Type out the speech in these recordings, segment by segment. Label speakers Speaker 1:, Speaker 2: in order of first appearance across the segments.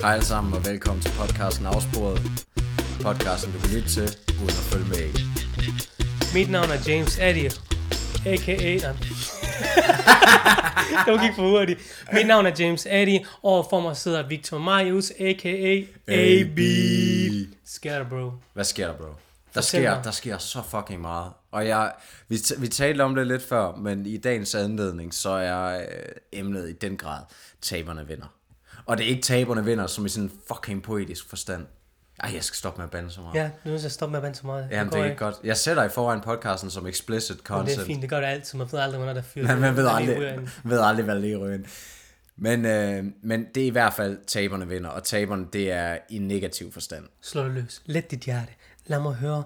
Speaker 1: Hej alle sammen og velkommen til podcasten Afsporet. Podcasten du kan lytte til, uden at følge med i.
Speaker 2: Mit navn er James Addy, a.k.a. Nej. Det gik for hurtigt. Mit navn er James Addy, og for mig sidder Victor Marius, a.k.a. AB. Sker der, bro?
Speaker 1: Hvad sker der, bro? Der
Speaker 2: Fortæl
Speaker 1: sker,
Speaker 2: mig.
Speaker 1: der sker så fucking meget. Og jeg, vi, t- vi talte om det lidt før, men i dagens anledning, så er øh, emnet i den grad, taberne vinder. Og det er ikke taberne vinder, som i sådan en fucking poetisk forstand. Ej, jeg skal stoppe med at bande så meget.
Speaker 2: Ja, nu er jeg stoppe med at bande så meget.
Speaker 1: Jamen,
Speaker 2: går
Speaker 1: det er ikke
Speaker 2: ikke.
Speaker 1: godt. Jeg sætter i foran podcasten som explicit
Speaker 2: Men
Speaker 1: content.
Speaker 2: det er fint, det gør det altid. Man ved aldrig, hvornår der er fyret.
Speaker 1: Men man ved
Speaker 2: Der er lige ude af
Speaker 1: aldrig,
Speaker 2: en-
Speaker 1: ved aldrig hvad der lige ryger ind. Men, øh, men det er i hvert fald taberne vinder, og taberne det er i negativ forstand.
Speaker 2: Slå det løs. Let dit hjerte. Lad mig høre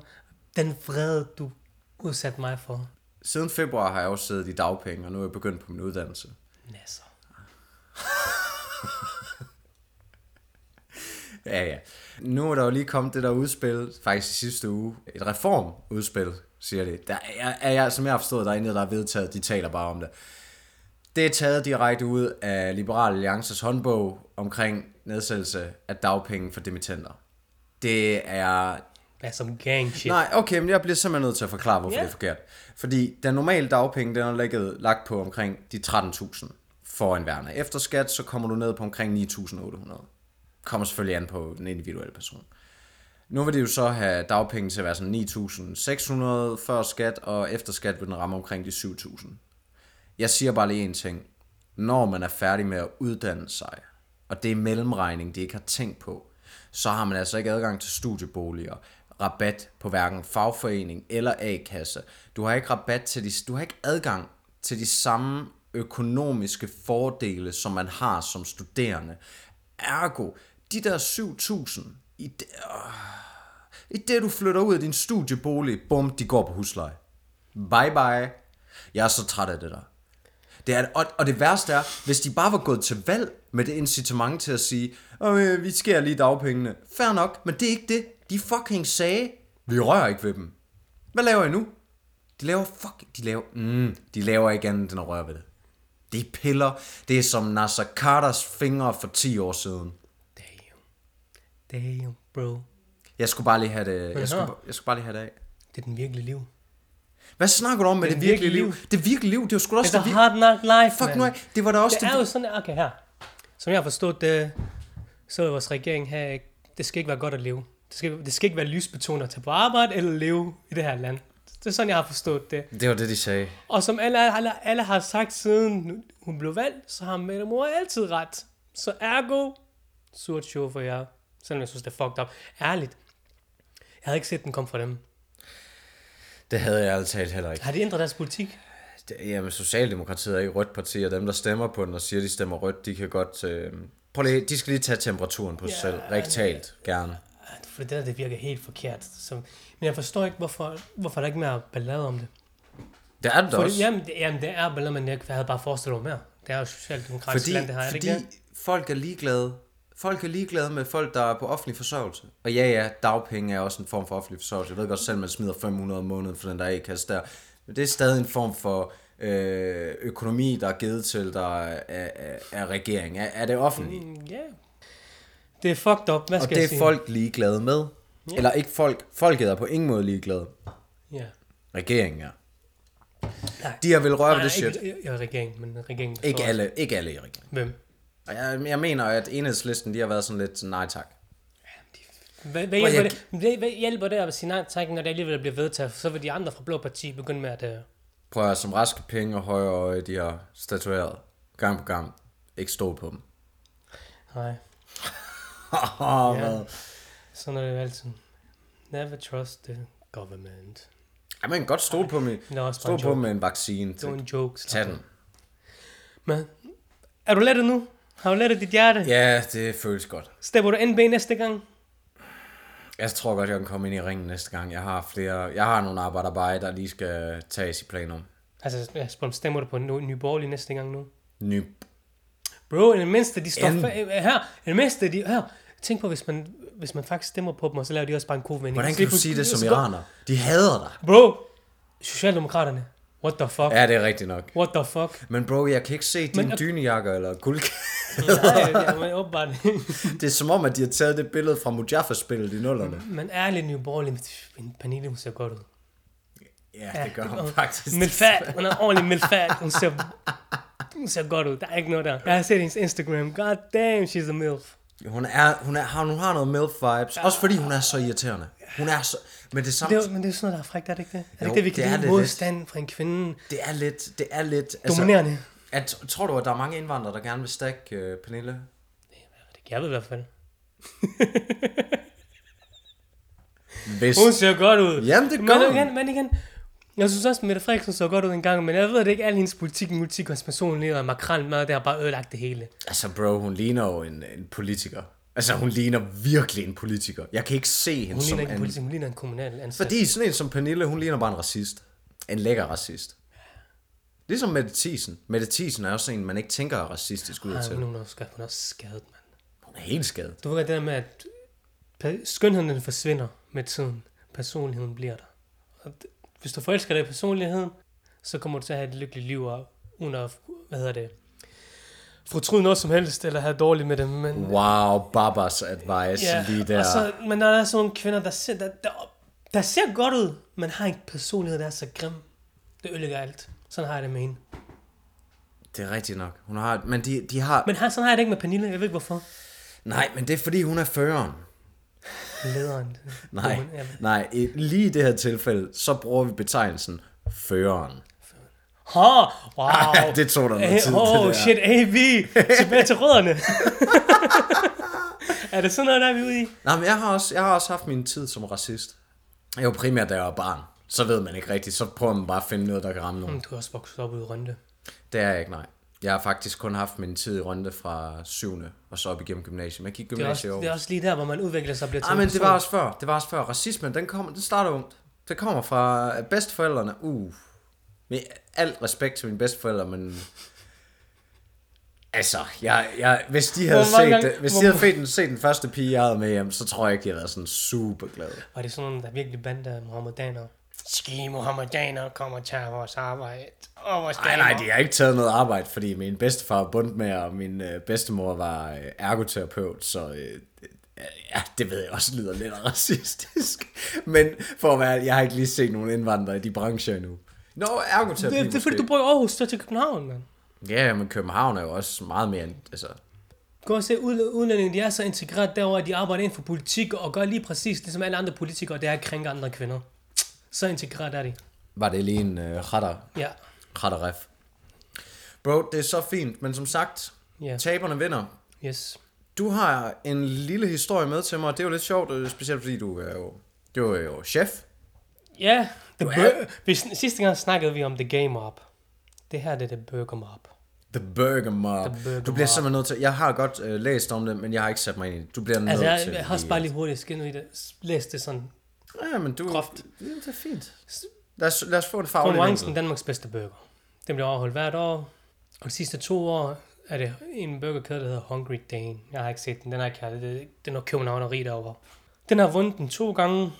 Speaker 2: den vrede, du udsat mig for.
Speaker 1: Siden februar har jeg også siddet i dagpenge, og nu er jeg begyndt på min uddannelse.
Speaker 2: Nasser.
Speaker 1: Ja, ja. Nu er der jo lige kommet det der udspil, faktisk i sidste uge, et reformudspil, siger det. Der er, er jeg, som jeg har forstået, der er intet, der er vedtaget, de taler bare om det. Det er taget direkte ud af Liberal Alliances håndbog omkring nedsættelse af dagpenge for dimittenter. Det er
Speaker 2: Hvad som gang shit.
Speaker 1: Nej, okay, men jeg bliver simpelthen nødt til at forklare, hvorfor
Speaker 2: Ja.
Speaker 1: yeah. det er forkert. Fordi den normale dagpenge, den er ligget, lagt på omkring de 13.000 for en værne. Efter skat, så kommer du ned på omkring 9.800. Kommer selvfølgelig an på den individuelle person. Nu vil det jo så have dagpenge til at være sådan 9.600 før skat, og efter skat vil den ramme omkring de 7.000. Jeg siger bare lige en ting. Når man er færdig med at uddanne sig, og det er mellemregning, de ikke har tænkt på, så har man altså ikke adgang til studieboliger, rabat på hverken fagforening eller A-kasse. Du har ikke rabat til de, du har ikke adgang til de samme økonomiske fordele, som man har som studerende. Ergo, de der 7.000, i det, øh, i det du flytter ud af din studiebolig, bum, de går på husleje. Bye bye. Jeg er så træt af det der. Det er, og, og det værste er, hvis de bare var gået til valg med det incitament til at sige, "Åh, øh, vi skærer lige dagpengene. Fair nok, men det er ikke det. De fucking sagde, vi rører ikke ved dem. Hvad laver I nu? De laver fucking, de laver, mm, de laver ikke andet end at røre ved det. De piller, det er som Nasser Carters fingre for 10 år siden.
Speaker 2: Damn. Damn, bro.
Speaker 1: Jeg skulle bare lige have det,
Speaker 2: Hvad
Speaker 1: jeg skulle,
Speaker 2: så?
Speaker 1: jeg skulle bare lige have det af.
Speaker 2: Det er den virkelige liv.
Speaker 1: Hvad snakker du om med det,
Speaker 2: Det
Speaker 1: det virkelige
Speaker 2: virkelige
Speaker 1: liv? Det virkelige liv, det var sgu da
Speaker 2: Det
Speaker 1: også
Speaker 2: er
Speaker 1: det
Speaker 2: the
Speaker 1: virkelige
Speaker 2: hard knock life,
Speaker 1: Fuck
Speaker 2: man.
Speaker 1: nu af, det var da også
Speaker 2: Altså, Det er jo sådan, okay her. Som jeg har forstået det, så er vores regering her, ikke- det skal ikke være godt at leve. Det skal, det skal ikke være lysbetonet at tage på arbejde eller leve i det her land. Det er sådan, jeg har forstået det.
Speaker 1: det, det var det, de sagde.
Speaker 2: Og som alle, alle, alle har sagt siden hun blev valgt, så har Mette Mor altid ret. Så ergo, surt show for jer. Selvom jeg synes, det er fucked up. Ærligt. Jeg havde ikke set den komme fra dem.
Speaker 1: Det havde jeg altid heller ikke.
Speaker 2: Har de ændret deres politik?
Speaker 1: Det, jamen, Socialdemokratiet er ikke rødt parti, og dem, der stemmer på den og siger, de stemmer rødt, de kan godt... Øh, prøv lige, de skal lige tage temperaturen på sig ja, selv. Rigtig talt, gerne.
Speaker 2: Ej, For det der, det virker helt forkert. Så, men jeg forstår ikke, hvorfor, hvorfor der ikke er mere ballade om det.
Speaker 1: Det er det da
Speaker 2: Fordi,
Speaker 1: også.
Speaker 2: jamen, det, jamen, det er billeder, men jeg havde bare forestillet mig mere. Det er jo socialdemokratisk
Speaker 1: fordi
Speaker 2: land, det her, er det
Speaker 1: fordi
Speaker 2: ikke det?
Speaker 1: folk er ligeglade. Folk er ligeglade med folk, der er på offentlig forsørgelse. Og ja, ja, dagpenge er også en form for offentlig forsørgelse. Jeg ved godt selv, man smider 500 om måneden for den der A-kasse der. Men det er stadig en form for øh, økonomi, der er givet til, der er, er, er regering. Er, er det offentligt?
Speaker 2: Mm, Ja. Det er fucked up, hvad
Speaker 1: Og
Speaker 2: skal
Speaker 1: det
Speaker 2: jeg sige?
Speaker 1: er folk ligeglade med. Ja. Eller ikke folk. Folket er på ingen måde ligeglade.
Speaker 2: Ja.
Speaker 1: Regeringen er.
Speaker 2: Nej.
Speaker 1: De har vel rørt ved
Speaker 2: Nej,
Speaker 1: det shit. Ikke,
Speaker 2: Ikke, jeg er regering, men regeringen... består
Speaker 1: ikke
Speaker 2: af-
Speaker 1: alle, ikke alle i regeringen.
Speaker 2: Hvem?
Speaker 1: Og Jeg, jeg mener, at enhedslisten, de har været sådan lidt, nej tak.
Speaker 2: Hvad, hvad,
Speaker 1: jeg-
Speaker 2: hjælper det, hvad, hvad hjælper det at sige nej tak, når det alligevel bliver vedtaget? Så vil de andre fra Blå Parti begynde med at... Uh,
Speaker 1: Prøv at høre, som raske penge og højre øje, de har statueret gang på gang. Ikke stå på dem.
Speaker 2: nej,
Speaker 1: Haha,
Speaker 2: Ja.
Speaker 1: hvad?
Speaker 2: sådan er det jo altid. Never trust the government.
Speaker 1: ja. man kan godt stå på dem.
Speaker 2: Det er også bare
Speaker 1: Stå
Speaker 2: en
Speaker 1: på dem
Speaker 2: joke.
Speaker 1: med en vaccine.
Speaker 2: Det var
Speaker 1: Til.
Speaker 2: en joke. slap
Speaker 1: Tag
Speaker 2: af.
Speaker 1: den.
Speaker 2: Men, er du lettet nu? Har du lettet dit hjerte?
Speaker 1: Ja, det føles godt.
Speaker 2: Stepper du NB næste gang?
Speaker 1: Jeg tror godt, jeg kan komme ind i ringen næste gang. Jeg har flere, jeg har nogle arbejderbeje, der lige skal tages i planum.
Speaker 2: Altså, jeg spørger, stemmer du på Ny Nye Borgerlige næste gang nu?
Speaker 1: Ny
Speaker 2: Bro, i det mindste, de står
Speaker 1: End-
Speaker 2: fa- øh, her. I det mindste, de her. Tænk på, hvis man, hvis man faktisk stemmer på dem, og så laver de også bare en kovending.
Speaker 1: Hvordan
Speaker 2: Så
Speaker 1: kan
Speaker 2: lige
Speaker 1: du
Speaker 2: pludselig-
Speaker 1: sige det som
Speaker 2: så-
Speaker 1: iraner? De hader dig.
Speaker 2: Bro, Socialdemokraterne. What the fuck?
Speaker 1: Ja, det er rigtigt nok.
Speaker 2: What the fuck?
Speaker 1: Men bro, jeg kan ikke se dine
Speaker 2: Men-
Speaker 1: dynejakker eller guldkæder.
Speaker 2: Nej, ja, men åbenbart.
Speaker 1: Det er som om, at de har taget det billede fra Mujaffa-spillet i nullerne.
Speaker 2: Men ærligt, New Borley, men Pernille, hun ser godt ud.
Speaker 1: Ja, det gør
Speaker 2: det-
Speaker 1: hun faktisk.
Speaker 2: Milfat, hun er ordentlig milfat. Hun ser, hun ser godt ud. Der er ikke noget der. Jeg har set hendes Instagram. God damn, she's a milf.
Speaker 1: Hun, er, hun, er, har- hun har noget milf vibes. Også fordi hun er så irriterende. Hun er så... Men det er
Speaker 2: Det
Speaker 1: samme...
Speaker 2: er, jo- men det er jo sådan noget, der er frækt, er det ikke det? Er det
Speaker 1: Jo,
Speaker 2: ikke det, vi
Speaker 1: det er
Speaker 2: kan lide
Speaker 1: det Altså- lidt.
Speaker 2: modstand fra en kvinde?
Speaker 1: Det er lidt... Det er lidt
Speaker 2: Dominerende.
Speaker 1: at, tror du, at der er mange indvandrere, der gerne vil stakke øh, Pernille?
Speaker 2: Jeg ved i hvert fald.
Speaker 1: Hvis...
Speaker 2: Hun ser godt ud.
Speaker 1: Jamen, det
Speaker 2: men
Speaker 1: gør
Speaker 2: igen,
Speaker 1: hun.
Speaker 2: men igen, jeg synes også, Mette Frederiksen så godt ud en gang, men jeg ved det ikke, al hendes politik, multikonspiration, leder makrel mad, der har bare ødelagt det hele.
Speaker 1: Altså, bro, hun ligner jo en, en politiker. Altså, hun ligner virkelig en politiker. Jeg kan ikke se hende
Speaker 2: Hun
Speaker 1: som
Speaker 2: ligner ikke en
Speaker 1: en...
Speaker 2: politik, hun ligner en kommunal ansat.
Speaker 1: Fordi sådan en som Pernille, hun ligner bare en racist. En lækker racist. Ligesom Mette Thiesen. Mette Thiesen er også en, man ikke tænker er racistisk ud
Speaker 2: Ej,
Speaker 1: til.
Speaker 2: men hun er også, hun er også skadet, mand.
Speaker 1: Hun er helt skadet.
Speaker 2: Du ved godt det der med, at pe- skønheden den forsvinder med tiden. Personligheden bliver der. Og d- hvis du forelsker dig i personligheden, så kommer du til at have et lykkeligt liv og under, hvad hedder det, fortryde noget som helst, eller have dårligt med det. Men,
Speaker 1: Wow, Babas advice yeah. lige der.
Speaker 2: Og så, men når der er sådan nogle kvinder, der ser, der, der, der ser godt ud, men har en personlighed, der er så grim. Det ødelægger alt. Sådan har jeg det med hende.
Speaker 1: Det er rigtigt nok. Hun har, men de, de har... Men...
Speaker 2: Men har, sådan har jeg det ikke med Pernille. Jeg ved ikke hvorfor.
Speaker 1: Nej, men det er fordi, hun er føreren.
Speaker 2: Lederen.
Speaker 1: Nej,
Speaker 2: Hun er-
Speaker 1: nej. i- Lige i det her tilfælde, så bruger vi betegnelsen føreren.
Speaker 2: Hå, wow.
Speaker 1: Ja, Ah, det tog der noget tid.
Speaker 2: Åh,
Speaker 1: det
Speaker 2: oh,
Speaker 1: der.
Speaker 2: shit, AB, tilbage til rødderne. er det sådan noget, der er vi ude i?
Speaker 1: Nej, men jeg har, også, jeg har også haft min tid som racist. Jeg var primært, da jeg var barn. Så ved man ikke rigtigt. Så prøver man bare at finde noget, der kan ramme nogen.
Speaker 2: Mm, Du er også vokset op ude i Rønde.
Speaker 1: Det er jeg ikke, nej. Jeg har faktisk kun haft min tid i Rønde fra 7. og så op igennem gymnasiet. Jeg gik
Speaker 2: Det er, Ah,
Speaker 1: gymnasiet
Speaker 2: også,
Speaker 1: over.
Speaker 2: det er også lige der, hvor man udvikler sig og bliver til
Speaker 1: Nej,
Speaker 2: en
Speaker 1: men det
Speaker 2: person.
Speaker 1: var også før. Det var også før. Racismen, den, kommer, den starter ungt. Det kommer fra øh, bedsteforældrene. Uh. Med alt respekt til mine bedsteforældre, men... Altså, jeg, jeg, hvis de havde,
Speaker 2: Hvor mange
Speaker 1: set,
Speaker 2: gange-
Speaker 1: det- hvis
Speaker 2: hvor-
Speaker 1: de havde set, den, set den første pige, jeg havde med hjem, så tror jeg ikke, de havde været sådan super glade.
Speaker 2: Var det sådan nogen, der virkelig bander muhammedanere? Ski muhammedanere kommer og tager vores arbejde. Og vores
Speaker 1: Nej, nej, de har ikke taget noget arbejde, fordi min bedstefar var bundmager, og min øh, bedstemor var øh, ergoterapeut, så øh, øh, ja, det ved jeg også lyder lidt racistisk. Men for at være, ærlig, jeg har ikke lige set nogen indvandrere i de brancher endnu. Nå, ergoterapi
Speaker 2: det, det er fordi, du
Speaker 1: måske.
Speaker 2: bor i Aarhus, så til København, mand.
Speaker 1: Ja, men København er jo også meget mere, end- altså...
Speaker 2: Gå og se, udl- udlændinge, de er så integreret derover, at de arbejder inden for politik og gør lige præcis, ligesom alle andre politikere, der er at krænke andre kvinder. Så integreret er de.
Speaker 1: Var det lige en øh, retter,
Speaker 2: Ja.
Speaker 1: retterref? Bro, det er så fint, men som sagt,
Speaker 2: Ja.
Speaker 1: taberne vinder.
Speaker 2: Yes.
Speaker 1: Du har en lille historie med til mig, og det er jo lidt sjovt, øh, specielt fordi du er jo, du er jo chef.
Speaker 2: Ja, the
Speaker 1: er-
Speaker 2: bur- vi, sn- sidste gang snakkede vi om The Game Up. Det her det er The Burger Mob.
Speaker 1: The Burger Mob.
Speaker 2: The Burger
Speaker 1: du bliver
Speaker 2: Mob.
Speaker 1: simpelthen nødt til... Jeg har godt øh, læst om det, men jeg har ikke sat mig ind i det. Du bliver
Speaker 2: Altså,
Speaker 1: nødt
Speaker 2: jeg,
Speaker 1: til...
Speaker 2: jeg har også bare lige hurtigt skinnet i det. S- Læst det sådan.
Speaker 1: Ja, men du...
Speaker 2: groft.
Speaker 1: Ja, det er fint. Lad os, lad os få en faglig vinkel.
Speaker 2: Konkurrencen Danmarks bedste burger. Den bliver overholdt hvert år. Og de sidste to år er det en burgerkæde, der hedder Hungry Dane. Jeg har ikke set den. Den har jeg ikke kaldet. Det, det er nok københavneri derovre. Den har vundet den to gange.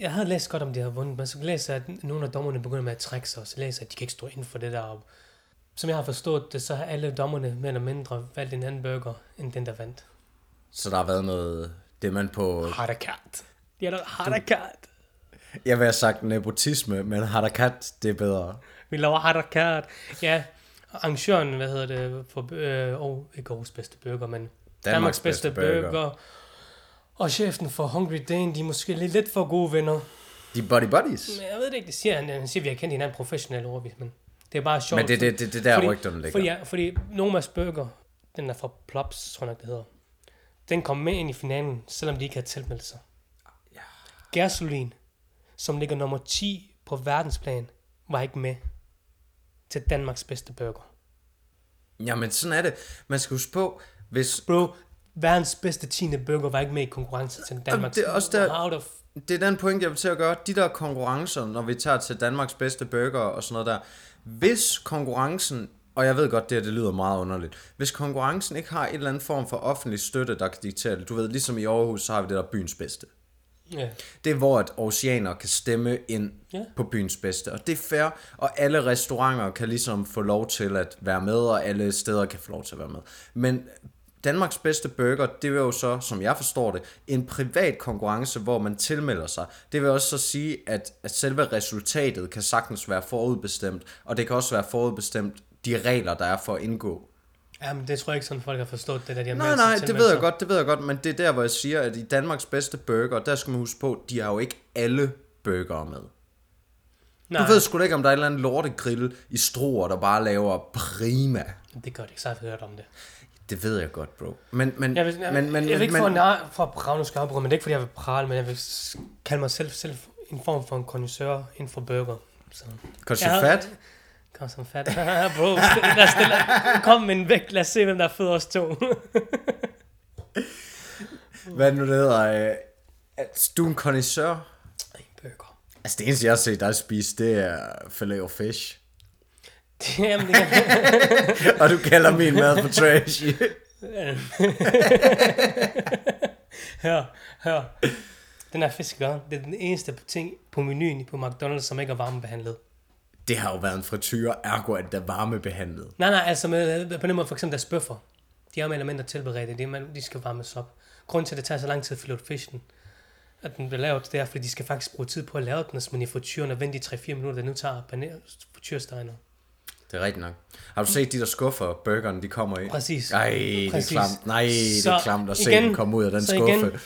Speaker 2: Jeg havde læst godt om, de havde vundet, men så læser jeg, at nogle af dommerne begynder med at trække sig, og så læser jeg, at de kan ikke stå inden for det der. Som jeg har forstået det, så har alle dommerne mere eller mindre valgt en anden burger, end den, der vandt.
Speaker 1: Så der har været noget... Det man på...
Speaker 2: Harakat. De har noget harakat.
Speaker 1: Jeg vil have sagt nepotisme, men harakat, det er bedre.
Speaker 2: Vi laver harakat. Ja, og arrangøren, hvad hedder det, for, øh, og ikke Aarhus bedste burger, men Danmarks, Danmarks bedste, bedste burger. burger. Og chefen for Hungry Dane, de er måske lidt, lidt for gode venner.
Speaker 1: De er buddy buddies.
Speaker 2: Men jeg ved det ikke, det siger han. Han siger, at vi har kendt hinanden professionelt overvis, men det er bare sjovt.
Speaker 1: Men det er det, det, det er der, fordi, rygterne ligger.
Speaker 2: Fordi, ja, fordi Nomas Burger, den er fra Plops, tror jeg nok, det hedder. Den kom med ind i finalen, selvom de ikke havde tilmeldt sig. Ja. Gasoline, som ligger nummer 10 på verdensplan, var ikke med til Danmarks bedste burger.
Speaker 1: Jamen, sådan er det. Man skal huske på, hvis...
Speaker 2: Bro, verdens bedste 10. burger var ikke med i konkurrence til Danmarks.
Speaker 1: det er også der-
Speaker 2: Out of...
Speaker 1: Det er den point, jeg vil til at gøre. De der konkurrencer, når vi tager til Danmarks bedste burger og sådan noget der. Hvis konkurrencen, og jeg ved godt, det her det lyder meget underligt. Hvis konkurrencen ikke har en eller anden form for offentlig støtte, der kan diktere det. Du ved, ligesom i Aarhus, så har vi det der byens bedste.
Speaker 2: Ja.
Speaker 1: Det er, hvor at oceaner kan stemme ind
Speaker 2: Ja.
Speaker 1: ja. på byens bedste. Og det er fair, og alle restauranter kan ligesom få lov til at være med, og alle steder kan få lov til at være med. Men Danmarks bedste burger, det vil jo så, som jeg forstår det, en privat konkurrence, hvor man tilmelder sig. Det vil også så sige, at, at selve resultatet kan sagtens være forudbestemt, og det kan også være forudbestemt de regler, der er for at indgå.
Speaker 2: Jamen, det tror jeg ikke sådan, folk har forstået det, der de har
Speaker 1: Nej,
Speaker 2: meldt sig
Speaker 1: nej,
Speaker 2: til
Speaker 1: det
Speaker 2: med
Speaker 1: ved jeg
Speaker 2: sig.
Speaker 1: godt, det ved jeg godt, men det er der, hvor jeg siger, at i Danmarks bedste burger, der skal man huske på, de har jo ikke alle burgere med.
Speaker 2: Nej,
Speaker 1: Du ved sgu da ikke, om der er et eller andet lortegrill i Struer, der bare laver prima.
Speaker 2: det gør det ikke, så har jeg hørt om det.
Speaker 1: Det ved jeg godt, bro. Men, men,
Speaker 2: Jeg vil, jeg,
Speaker 1: men, men,
Speaker 2: jeg vil ikke
Speaker 1: men,
Speaker 2: få en ar- for at prale nu skarpbrød, men det er ikke fordi, jeg vil prale, men jeg vil s- kalde mig selv, selv en form for en kondisør inden for burger. Så.
Speaker 1: Kan du
Speaker 2: Jeg havde-
Speaker 1: fat?
Speaker 2: Kom som fat. Bro, lad os, lad, kom med en vægt. Lad os se, hvem der er fed os to.
Speaker 1: Hvad er det nu det hedder? Øh, at du er en connoisseur?
Speaker 2: Ej, burger.
Speaker 1: Altså det eneste, jeg har set dig spise, det er filet og fish.
Speaker 2: Jamen, det kan...
Speaker 1: Og du kalder min mad for trash.
Speaker 2: Hør, hør. Den her fiskegørn, det er den eneste ting på menuen på McDonald's, som ikke er varmebehandlet.
Speaker 1: det har jo været en frityr, ergo at der varmebehandlet.
Speaker 2: Nej, nej, altså med, på den måde for eksempel deres bøffer. De har med elementer tilberedt, det er, man, de skal varmes op. Grunden til, at det tager så lang tid at fylde fisken, at den bliver lavet, det er, fordi de skal faktisk bruge tid på at lave den, så man i frityren og vente de 3-4 minutter, det nu tager at panere frityrsteiner.
Speaker 1: Det er rigtigt nok. Har du set de der skuffer, burgerne de kommer i?
Speaker 2: Præcis.
Speaker 1: Ej, det er
Speaker 2: Præcis.
Speaker 1: klamt. Nej, det er
Speaker 2: Så
Speaker 1: klamt at se
Speaker 2: igen-
Speaker 1: dem komme ud af den
Speaker 2: så
Speaker 1: skuffe.
Speaker 2: igen-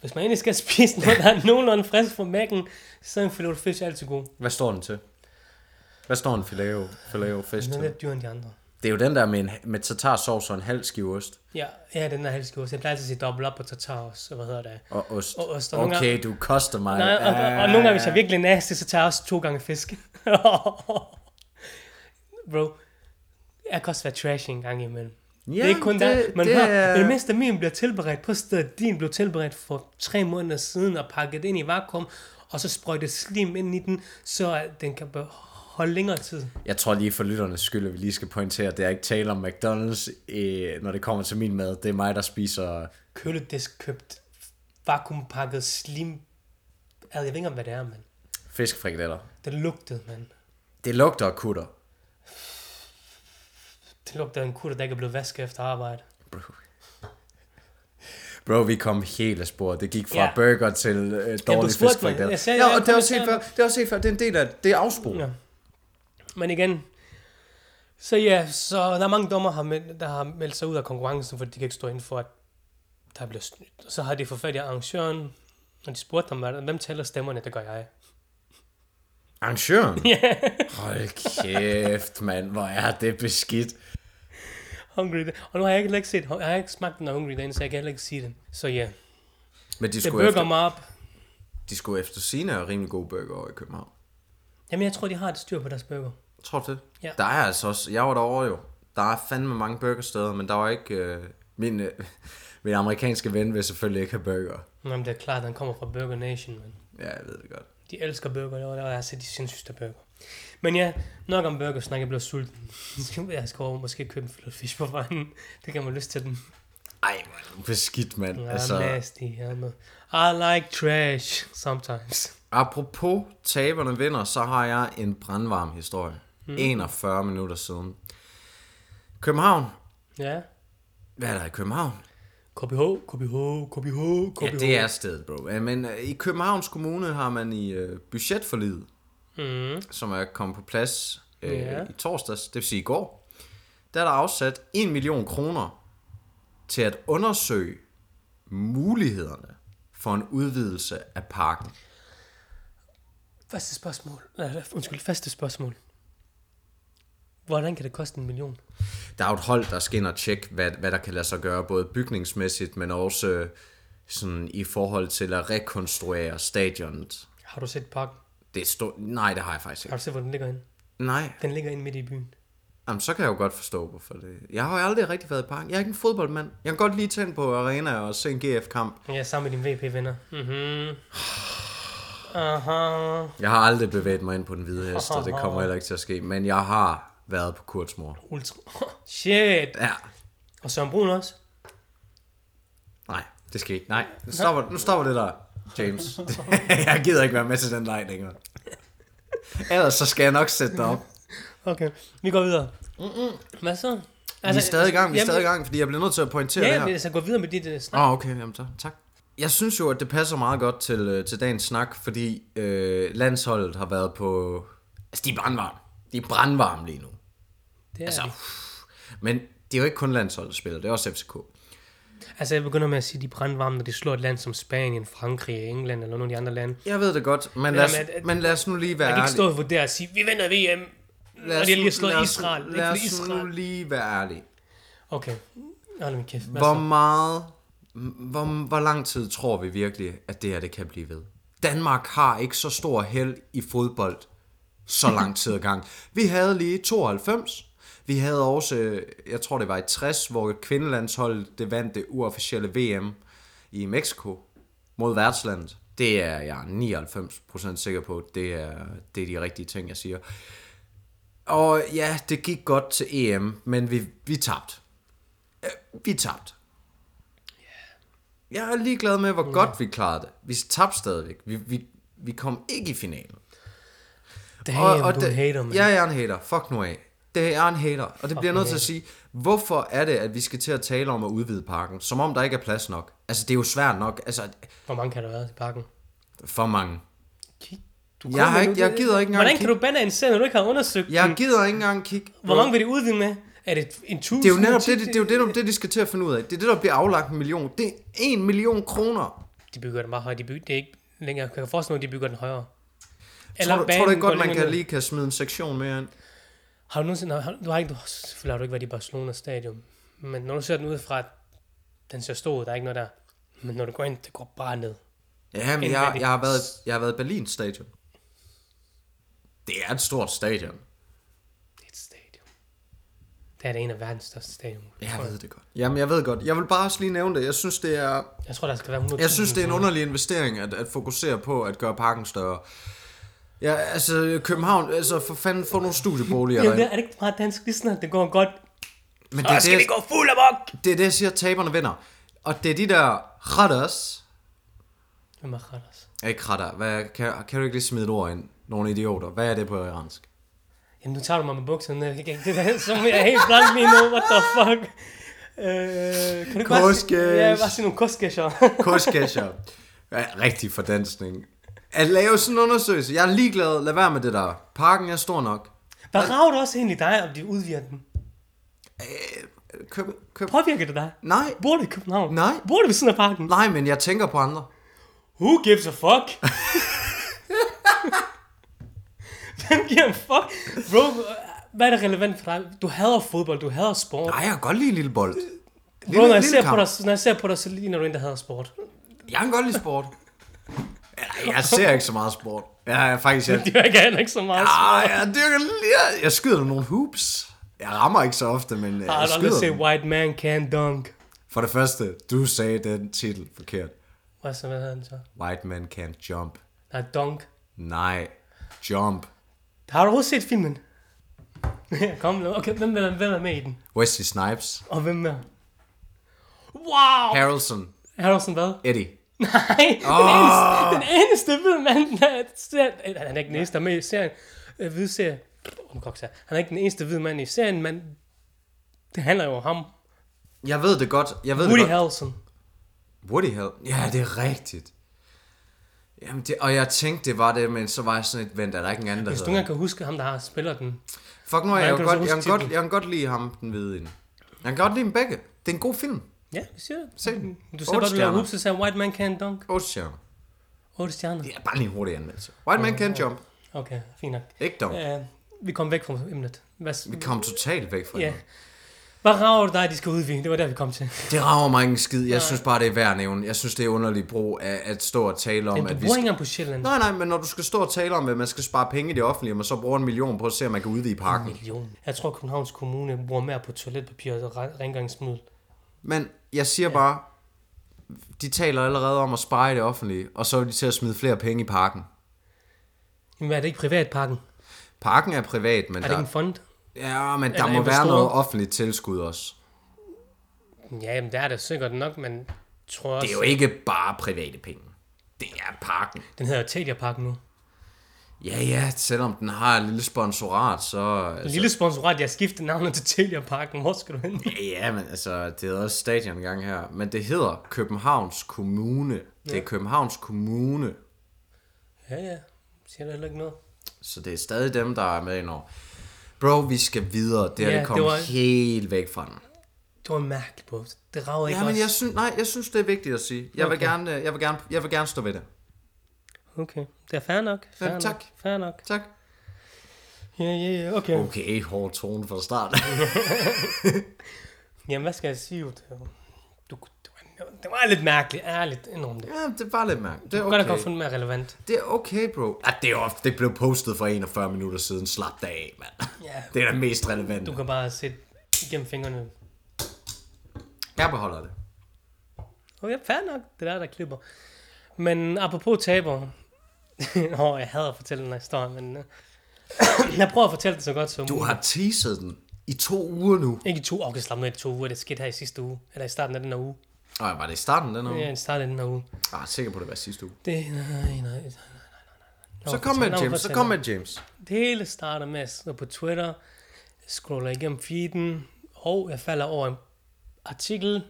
Speaker 2: Hvis man egentlig skal spise noget, der er nogenlunde frisk fra mækken, så er en filet fisk altid god.
Speaker 1: Hvad står den til? Hvad står en filet, filet fish
Speaker 2: Den er
Speaker 1: til?
Speaker 2: lidt dyrere end de andre.
Speaker 1: Det er jo den der med, en, med tartarsovs og en halv skive ost.
Speaker 2: Ja, ja den er helst god. Jeg plejer altid at sige dobbelt op på tartar også, og hvad hedder det?
Speaker 1: Og ost.
Speaker 2: Og ost, og nogle
Speaker 1: okay, du koster mig.
Speaker 2: Nej, og, og, og nogle gange, hvis
Speaker 1: Ah.
Speaker 2: jeg er virkelig nasty, så tager jeg også to gange fisk. Bro, jeg kan også være trash en gang imellem.
Speaker 1: Ja,
Speaker 2: det er ikke kun det, der, men
Speaker 1: det
Speaker 2: det,
Speaker 1: er-
Speaker 2: det mindste min bliver tilberedt på stedet. Din blev tilberedt for tre måneder siden og pakket ind i vakuum, og så sprøjtet slim ind i den, så at den kan holde længere tid.
Speaker 1: Jeg tror lige for lytternes skyld, at vi lige skal pointere, at det er ikke tale om McDonald's, øh, når det kommer til min mad. Det er mig, der spiser...
Speaker 2: Køledisk købt, vakuumpakket slim. Altså, Jeg ved ikke engang, hvad det er, mand.
Speaker 1: Fiskfrikadeller.
Speaker 2: Det lugtede, mand.
Speaker 1: Det lugter af kutter.
Speaker 2: Det lugtede af en kutter, der ikke er blevet vasket efter arbejde.
Speaker 1: Bro. Bro, vi kom helt af sporet. Det gik fra
Speaker 2: Ja.
Speaker 1: ja. burger til øh, dårlig
Speaker 2: spurgte mig.
Speaker 1: fiskfrikadeller.
Speaker 2: Jeg sagde,
Speaker 1: ja,
Speaker 2: jeg
Speaker 1: og det er også helt
Speaker 2: kommenterede.
Speaker 1: før. Det er også helt før. Det er en del af det. Det er afsporet.
Speaker 2: Ja. Men igen, så ja, så der er mange dommer, har mel- der har meldt sig ud af konkurrencen, fordi de kan ikke stå inden for, at der er blevet snydt. Og så har de fået fat i arrangøren, og de spurgte ham, "Hvad- hvem tæller stemmerne? Det gør jeg.
Speaker 1: Arrangøren? Yeah. Hold kæft, mand. Hvor er det beskidt.
Speaker 2: Hungry Day. Og nu har jeg ikke, heller ikke set, jeg har ikke smagt den af Hungry Day, så jeg kan heller ikke sige den. Så ja,
Speaker 1: Men de
Speaker 2: det
Speaker 1: skulle,
Speaker 2: bøger
Speaker 1: efter,
Speaker 2: mig op.
Speaker 1: de skulle efter sine er rimelig gode burger over i København.
Speaker 2: Jamen, jeg tror, de har et styr på deres bøger.
Speaker 1: Tror du det?
Speaker 2: Ja.
Speaker 1: Der er altså også... Jeg var derovre jo. Der er fandme mange burgersteder, men der var ikke... Øh, min, øh, min amerikanske ven vil selvfølgelig ikke have burger.
Speaker 2: Jamen, det er klart, den kommer fra Burger Nation, men
Speaker 1: Ja, jeg ved det godt.
Speaker 2: de elsker burger, det var der, jeg har set de sindssygste burger. Men ja, nok om burger, snak, jeg blev sulten. jeg skal over, måske købe en filet fish på vejen. Det kan man lyst til den.
Speaker 1: Ej, man. Beskidt, mand.
Speaker 2: Ja, altså... nasty. I'm a, I like trash sometimes.
Speaker 1: Apropos taberne vinder, så har jeg en brandvarm historie. Mm. 41 minutter siden. København.
Speaker 2: Ja.
Speaker 1: Hvad er der i København?
Speaker 2: KBH, KBH, KBH,
Speaker 1: Ja,
Speaker 2: KBH.
Speaker 1: det er stedet, bro. Ja, Men øh, i Københavns Kommune har man i øh, budgetforliget,
Speaker 2: Mm.
Speaker 1: som er kommet på plads øh,
Speaker 2: Ja.
Speaker 1: i torsdags, det vil sige i går, der er der afsat 1 million kroner til at undersøge mulighederne for en udvidelse af parken.
Speaker 2: Første spørgsmål. Nej, undskyld, første spørgsmål. Hvordan kan det koste en million?
Speaker 1: der er jo et hold, der skal ind og tjekke, hvad, hvad der kan lade sig gøre, både bygningsmæssigt, men også øh, sådan i forhold til at rekonstruere stadionet.
Speaker 2: Har du set parken?
Speaker 1: Det er stort... Nej, det har jeg faktisk
Speaker 2: Har
Speaker 1: ikke.
Speaker 2: du set, hvor den ligger henne?
Speaker 1: Nej,
Speaker 2: Den ligger inde midt i byen.
Speaker 1: Jamen, så kan jeg jo godt forstå, hvorfor det... Jeg har jo aldrig rigtig været i parken. Jeg er ikke en fodboldmand. Jeg kan godt lige tænde på arena og se en GF-kamp.
Speaker 2: Ja, sammen med dine VP-venner. Mhm. Aha.
Speaker 1: Jeg har aldrig bevæget mig ind på den hvide hest, og det kommer heller ikke til at ske. Men jeg har været på Kurtsmor.
Speaker 2: Ultra. Shit.
Speaker 1: Ja,
Speaker 2: Og Søren Brun også.
Speaker 1: nej, det skal ikke. Nej, nu stopper, nu stopper det der, James. jeg gider ikke være med til den leg længere. Ellers så skal jeg nok sætte dig op.
Speaker 2: Okay, vi går videre. Mm-mm. Hvad så?
Speaker 1: Altså, vi er stadig i gang, vi er
Speaker 2: jamen-
Speaker 1: stadig i gang, fordi jeg bliver nødt til at pointere
Speaker 2: Ja,
Speaker 1: det
Speaker 2: ja,
Speaker 1: her.
Speaker 2: men altså gå videre med dit uh, snak.
Speaker 1: Åh, oh, okay, jamen så, tak. Jeg synes jo, at det passer meget godt til, øh, til dagens snak, fordi øh, landsholdet har været på... Altså, de er brandvarme. De er brandvarme lige nu.
Speaker 2: Det er
Speaker 1: Altså,
Speaker 2: altså,
Speaker 1: uff. men det er jo ikke kun landsholdet, der spiller, det er også FCK.
Speaker 2: altså, jeg begynder med at sige, at de er brandvarme, når de slår et land som Spanien, Frankrig, England eller nogle af de andre lande.
Speaker 1: Jeg ved det godt, men lad os,
Speaker 2: Jamen, at- at-
Speaker 1: men lad os nu lige være
Speaker 2: Jeg kan ikke
Speaker 1: ærlige.
Speaker 2: stå og vurdere og sige, vi vinder VM,
Speaker 1: Lad
Speaker 2: og
Speaker 1: os
Speaker 2: de har
Speaker 1: nu-
Speaker 2: lige slået
Speaker 1: lad os-
Speaker 2: Israel. Det er
Speaker 1: Lad
Speaker 2: ikke fordi
Speaker 1: os nu
Speaker 2: Israel.
Speaker 1: lige være ærlige.
Speaker 2: Okay, hold min kæft. Hvad
Speaker 1: Hvor
Speaker 2: så?
Speaker 1: meget, hvor, hvor lang tid tror vi virkelig, at det her det kan blive ved? Danmark har ikke så stor held i fodbold så lang tid ad gang. Vi havde lige 92. Vi havde også, øh, jeg tror det var i 60, hvor et kvindelandshold det vandt det uofficielle VM i Mexico mod værtslandet. Det er jeg 99% sikker på, det er, det er de rigtige ting, jeg siger. Og ja, det gik godt til EM, men vi, vi tabte. Øh, Vi tabte. Jeg er ligeglad med, hvor godt vi klarede det. Vi tabte stadigvæk. Vi, vi, vi kom ikke i finalen.
Speaker 2: Damn, du er en hater, man.
Speaker 1: Ja, jeg er en hater. Fuck nu af. Det er en hater. Og det bliver jeg nødt til
Speaker 2: hater.
Speaker 1: at sige, hvorfor er det, at vi skal til at tale om at udvide parken? Som om der ikke er plads nok. Altså, det er jo svært nok. Altså,
Speaker 2: Hvor mange kan der være i pakken?
Speaker 1: for mange.
Speaker 2: Kig. Du
Speaker 1: Jeg, har
Speaker 2: kommer
Speaker 1: ikke,
Speaker 2: nu-
Speaker 1: jeg gider ikke engang
Speaker 2: Hvordan kan
Speaker 1: kigge.
Speaker 2: du bande en sag, når du ikke har undersøgt
Speaker 1: Jeg
Speaker 2: den?
Speaker 1: gider ikke engang kigge.
Speaker 2: Mm. Hvor mange vil de udvide med? Er det en tusind?
Speaker 1: Det er jo netop det, det, det, er jo det, det, det, de skal til at finde ud af. Det er det, der bliver aflagt en million. Det er en million kroner.
Speaker 2: De bygger den meget højere. De bygger, det er ikke længere. Jeg kan forestille mig, at de bygger den højere.
Speaker 1: Tror du, tror
Speaker 2: banen
Speaker 1: du ikke
Speaker 2: går
Speaker 1: godt, man
Speaker 2: længere
Speaker 1: kan
Speaker 2: ned.
Speaker 1: lige kan smide en sektion mere ind?
Speaker 2: Har du nogensinde... Har, du har ikke, du, selvfølgelig har du ikke været i Barcelona stadion. Men når du ser den udefra, den ser stor ud. Der er ikke noget der. Men når du går ind, det går bare ned.
Speaker 1: Ja, men
Speaker 2: End
Speaker 1: jeg,
Speaker 2: hvad det-
Speaker 1: jeg, har været, jeg har været i Berlin stadion. Det er et stort stadion.
Speaker 2: Det er et stadion. Det er det en af verdens største stadion.
Speaker 1: Jeg ved det godt. Jamen, jeg ved godt. Jeg vil bare også lige nævne det. Jeg synes, det er,
Speaker 2: Jeg tror, der skal være 100.000.
Speaker 1: jeg synes, det er en underlig investering at, at fokusere på at gøre parken større. Ja, altså København, altså for fanden, få nogle studieboliger
Speaker 2: Jamen,
Speaker 1: derinde.
Speaker 2: er det ikke meget dansk, lige snart det går godt?
Speaker 1: Men det
Speaker 2: Og
Speaker 1: er
Speaker 2: skal
Speaker 1: det,
Speaker 2: vi gå fuld amok!
Speaker 1: det, er det jeg siger, taberne vinder. Og det er de der retters,
Speaker 2: Hvem er Randers?
Speaker 1: Ja, Ikke retter. Hvad, kan, kan du ikke lige smide et ord ind? Nogle idioter. Hvad er det på iransk?
Speaker 2: Jamen, nu tager du mig med bukserne ned. Jeg kan ikke- Det der, som jeg er helt blank lige nu. What the fuck? Øh, kan du ikke bare sige,
Speaker 1: Koskes.
Speaker 2: ja, bare sige nogle koskæsjer?
Speaker 1: Kurskæscher. Ja, rigtig fordansning. At lave sådan en undersøgelse. Jeg er ligeglad. Lad være med det der. Parken er stor nok.
Speaker 2: Hvad rager det også egentlig dig, om de udvider den?
Speaker 1: Øh, Køb, køb.
Speaker 2: Påvirker det dig?
Speaker 1: Nej.
Speaker 2: Bor du i København?
Speaker 1: Nej.
Speaker 2: Bor du ved siden af parken?
Speaker 1: Nej, men jeg tænker på andre.
Speaker 2: Who gives a fuck? Hvem giver en fuck? Bro, hvad er det relevant for dig? Du hader fodbold, du hader sport.
Speaker 1: Nej, jeg kan godt lide en lille bold.
Speaker 2: Bro, når jeg, ser
Speaker 1: kamp.
Speaker 2: på dig, når jeg ser på dig, så ligner du en, der hader sport.
Speaker 1: Jeg kan godt lide sport. Eller, Jeg ser ikke så meget sport. Jeg er faktisk... Jeg,
Speaker 2: Det er ikke heller ikke så meget.
Speaker 1: ah, jeg dyrker lige... Jeg skyder nogle hoops. Jeg rammer ikke så ofte, men øh,
Speaker 2: Jeg
Speaker 1: jeg
Speaker 2: har aldrig
Speaker 1: skyder
Speaker 2: set
Speaker 1: dem.
Speaker 2: White Man Can Dunk.
Speaker 1: For det første, du sagde den titel forkert.
Speaker 2: Hvad så, hvad hedder den så?
Speaker 1: White man can't jump.
Speaker 2: Nej, Dunk.
Speaker 1: Nej, jump.
Speaker 2: Har du overhovedet set filmen? Kom nu. Okay, hvem, hvem, hvem er med i den?
Speaker 1: Wesley Snipes.
Speaker 2: Og hvem er? Wow!
Speaker 1: Harrelson.
Speaker 2: Harrelson hvad? Ah!
Speaker 1: Eddie.
Speaker 2: Nej, den, eneste, den eneste hvide mand, der er- ser, han er ikke den eneste, der er med i serien. Øh, hvide serie. Om koks her. Han er ikke den eneste hvide mand i serien, men det handler jo om ham.
Speaker 1: Jeg ved det godt. Jeg ved
Speaker 2: Woody
Speaker 1: det godt.
Speaker 2: Harrelson.
Speaker 1: Woody Hell. Ja, det er rigtigt. Jamen det, og jeg tænkte, det var det, men så var jeg sådan et, vent, er der ikke en anden, der
Speaker 2: Hvis du
Speaker 1: hedder
Speaker 2: ikke engang kan huske ham, der har spiller den.
Speaker 1: det? Fuck nu, jeg,
Speaker 2: Hvordan
Speaker 1: jeg,
Speaker 2: kan
Speaker 1: kan
Speaker 2: du
Speaker 1: godt,
Speaker 2: så
Speaker 1: jeg, kan
Speaker 2: huske
Speaker 1: godt,
Speaker 2: titlen?
Speaker 1: jeg kan godt lide ham, den hvide inde. Jeg kan godt lide dem begge. Det er en god film.
Speaker 2: Ja, vi siger det.
Speaker 1: Se den.
Speaker 2: Du
Speaker 1: Otte
Speaker 2: sagde bare, du lavede
Speaker 1: stjerner.
Speaker 2: hoops, så sagde White Man Can Dunk.
Speaker 1: 8 stjerner.
Speaker 2: 8 stjerner.
Speaker 1: Det er bare lige en hurtig anmeldelse. White man can't jump.
Speaker 2: Okay, fint nok.
Speaker 1: Ikke dog.
Speaker 2: Uh, vi kom væk fra emnet. Hvad, s-
Speaker 1: Vi kom totalt væk fra
Speaker 2: ja.
Speaker 1: yeah.
Speaker 2: Hvad rager det dig, de skal udvide? Det var der, vi kom til.
Speaker 1: Det rager mig ikke en skid. Jeg synes bare, det er værd at nævne. Jeg synes, det er underlig brug af at stå og tale om,
Speaker 2: Men du
Speaker 1: at vi
Speaker 2: bor ikke engang på Sjælland.
Speaker 1: Nej, nej, men når du skal stå og tale om, at man skal spare penge i det offentlige, og man så bruger en million på at se, om man kan udvide parken.
Speaker 2: Million. Jeg tror, Københavns Kommune bruger mere på toiletpapir og re- rengøringsmiddel.
Speaker 1: Men jeg siger bare, de taler allerede om at spare i det offentlige, og så er de til at smide flere penge i parken.
Speaker 2: Jamen er det ikke privatparken?
Speaker 1: Parken er privat, men,
Speaker 2: Er det
Speaker 1: der,
Speaker 2: ikke en fond?
Speaker 1: ja, men der
Speaker 2: Eller
Speaker 1: må
Speaker 2: investorer?
Speaker 1: være noget offentligt tilskud også.
Speaker 2: Ja, jamen, det er det sikkert nok, men tror også...
Speaker 1: Det er jo ikke bare private penge. Det er parken.
Speaker 2: Den hedder Telia Park nu.
Speaker 1: Ja, ja, selvom den har et lille sponsorat, så...
Speaker 2: En
Speaker 1: Altså,
Speaker 2: lille sponsorat, jeg skiftede navnet til Telia Parken. Hvor skal du hen?
Speaker 1: ja, men altså, det hedder også stadion engang her. Men det hedder Københavns Kommune. Det er Københavns Kommune,
Speaker 2: Ja, ja. Siger der heller ikke noget.
Speaker 1: så det er stadig dem, der er med indover. Bro, vi skal videre. Det er
Speaker 2: Ja,
Speaker 1: ja, det
Speaker 2: det
Speaker 1: kommet
Speaker 2: var-
Speaker 1: var... helt væk fra den.
Speaker 2: Det var mærkeligt, på. Det rager ikke
Speaker 1: Ja, men
Speaker 2: os.
Speaker 1: jeg synes, nej, jeg synes, det er vigtigt at sige. Jeg vil,
Speaker 2: Okay.
Speaker 1: gerne, øh, jeg vil, gerne, jeg vil gerne stå ved det.
Speaker 2: Okay, det er fair nok. Fair
Speaker 1: Ja, tak.
Speaker 2: Nok, fair nok.
Speaker 1: Tak.
Speaker 2: Ja, ja, ja, okay. Oh.
Speaker 1: Okay, hård tone fra start.
Speaker 2: Jamen, hvad skal jeg sige? Du, du, det, var, det var lidt mærkeligt, ærligt, indrøm det.
Speaker 1: ja, det var lidt mærkeligt. Det er
Speaker 2: Okay. Godt at
Speaker 1: okay.
Speaker 2: godt fundet mere relevant.
Speaker 1: Det er okay, bro. At det, er ofte, det blev postet for 41 minutter siden. Slap dig af, mand.
Speaker 2: Ja,
Speaker 1: Det er da mest relevant.
Speaker 2: du kan bare se igennem fingrene.
Speaker 1: Jeg beholder det.
Speaker 2: Okay, fair nok. Det er der, der klipper. Men apropos taber. Åh, oh, jeg hader at fortælle den her historie, men... øh, jeg prøver at fortælle det så godt som...
Speaker 1: Du har teaset den i to uger nu.
Speaker 2: Ikke i to år, kan slappe ned i to uger. Det skete her i sidste uge. Eller i starten af den her uge.
Speaker 1: Nå, var det i starten den
Speaker 2: Mm.
Speaker 1: her?
Speaker 2: Ja,
Speaker 1: Yeah.
Speaker 2: i starten af den her uge.
Speaker 1: Ah, jeg er sikker på, det var sidste uge.
Speaker 2: Det... Nej, nej, nej, nej.
Speaker 1: Så kom med, James. Så kom med, James.
Speaker 2: Det hele starter med, at jeg sidder på Twitter, scroller igennem feeden, og jeg falder over en artikel,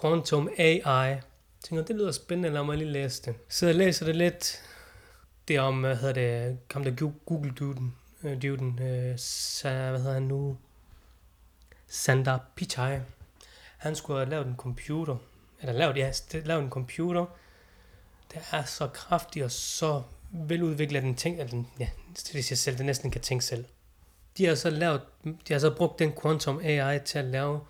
Speaker 2: Quantum AI. Jeg tænker, det lyder spændende, lad mig lige læse det. Så jeg læser det lidt. Det er om, hvad hedder det, kom der Gu- Google-duden, øh, duden, øh, sa, hvad hedder han nu? Sandar Pichai. Han skulle have lavet en computer, eller lavet, ja, st- lavet en computer, der er så kraftig og så veludviklet, at den, tænk, at den, ja, det vil sige selv, den næsten kan tænke selv. De har så, lavet, de har så brugt den Quantum AI til at lave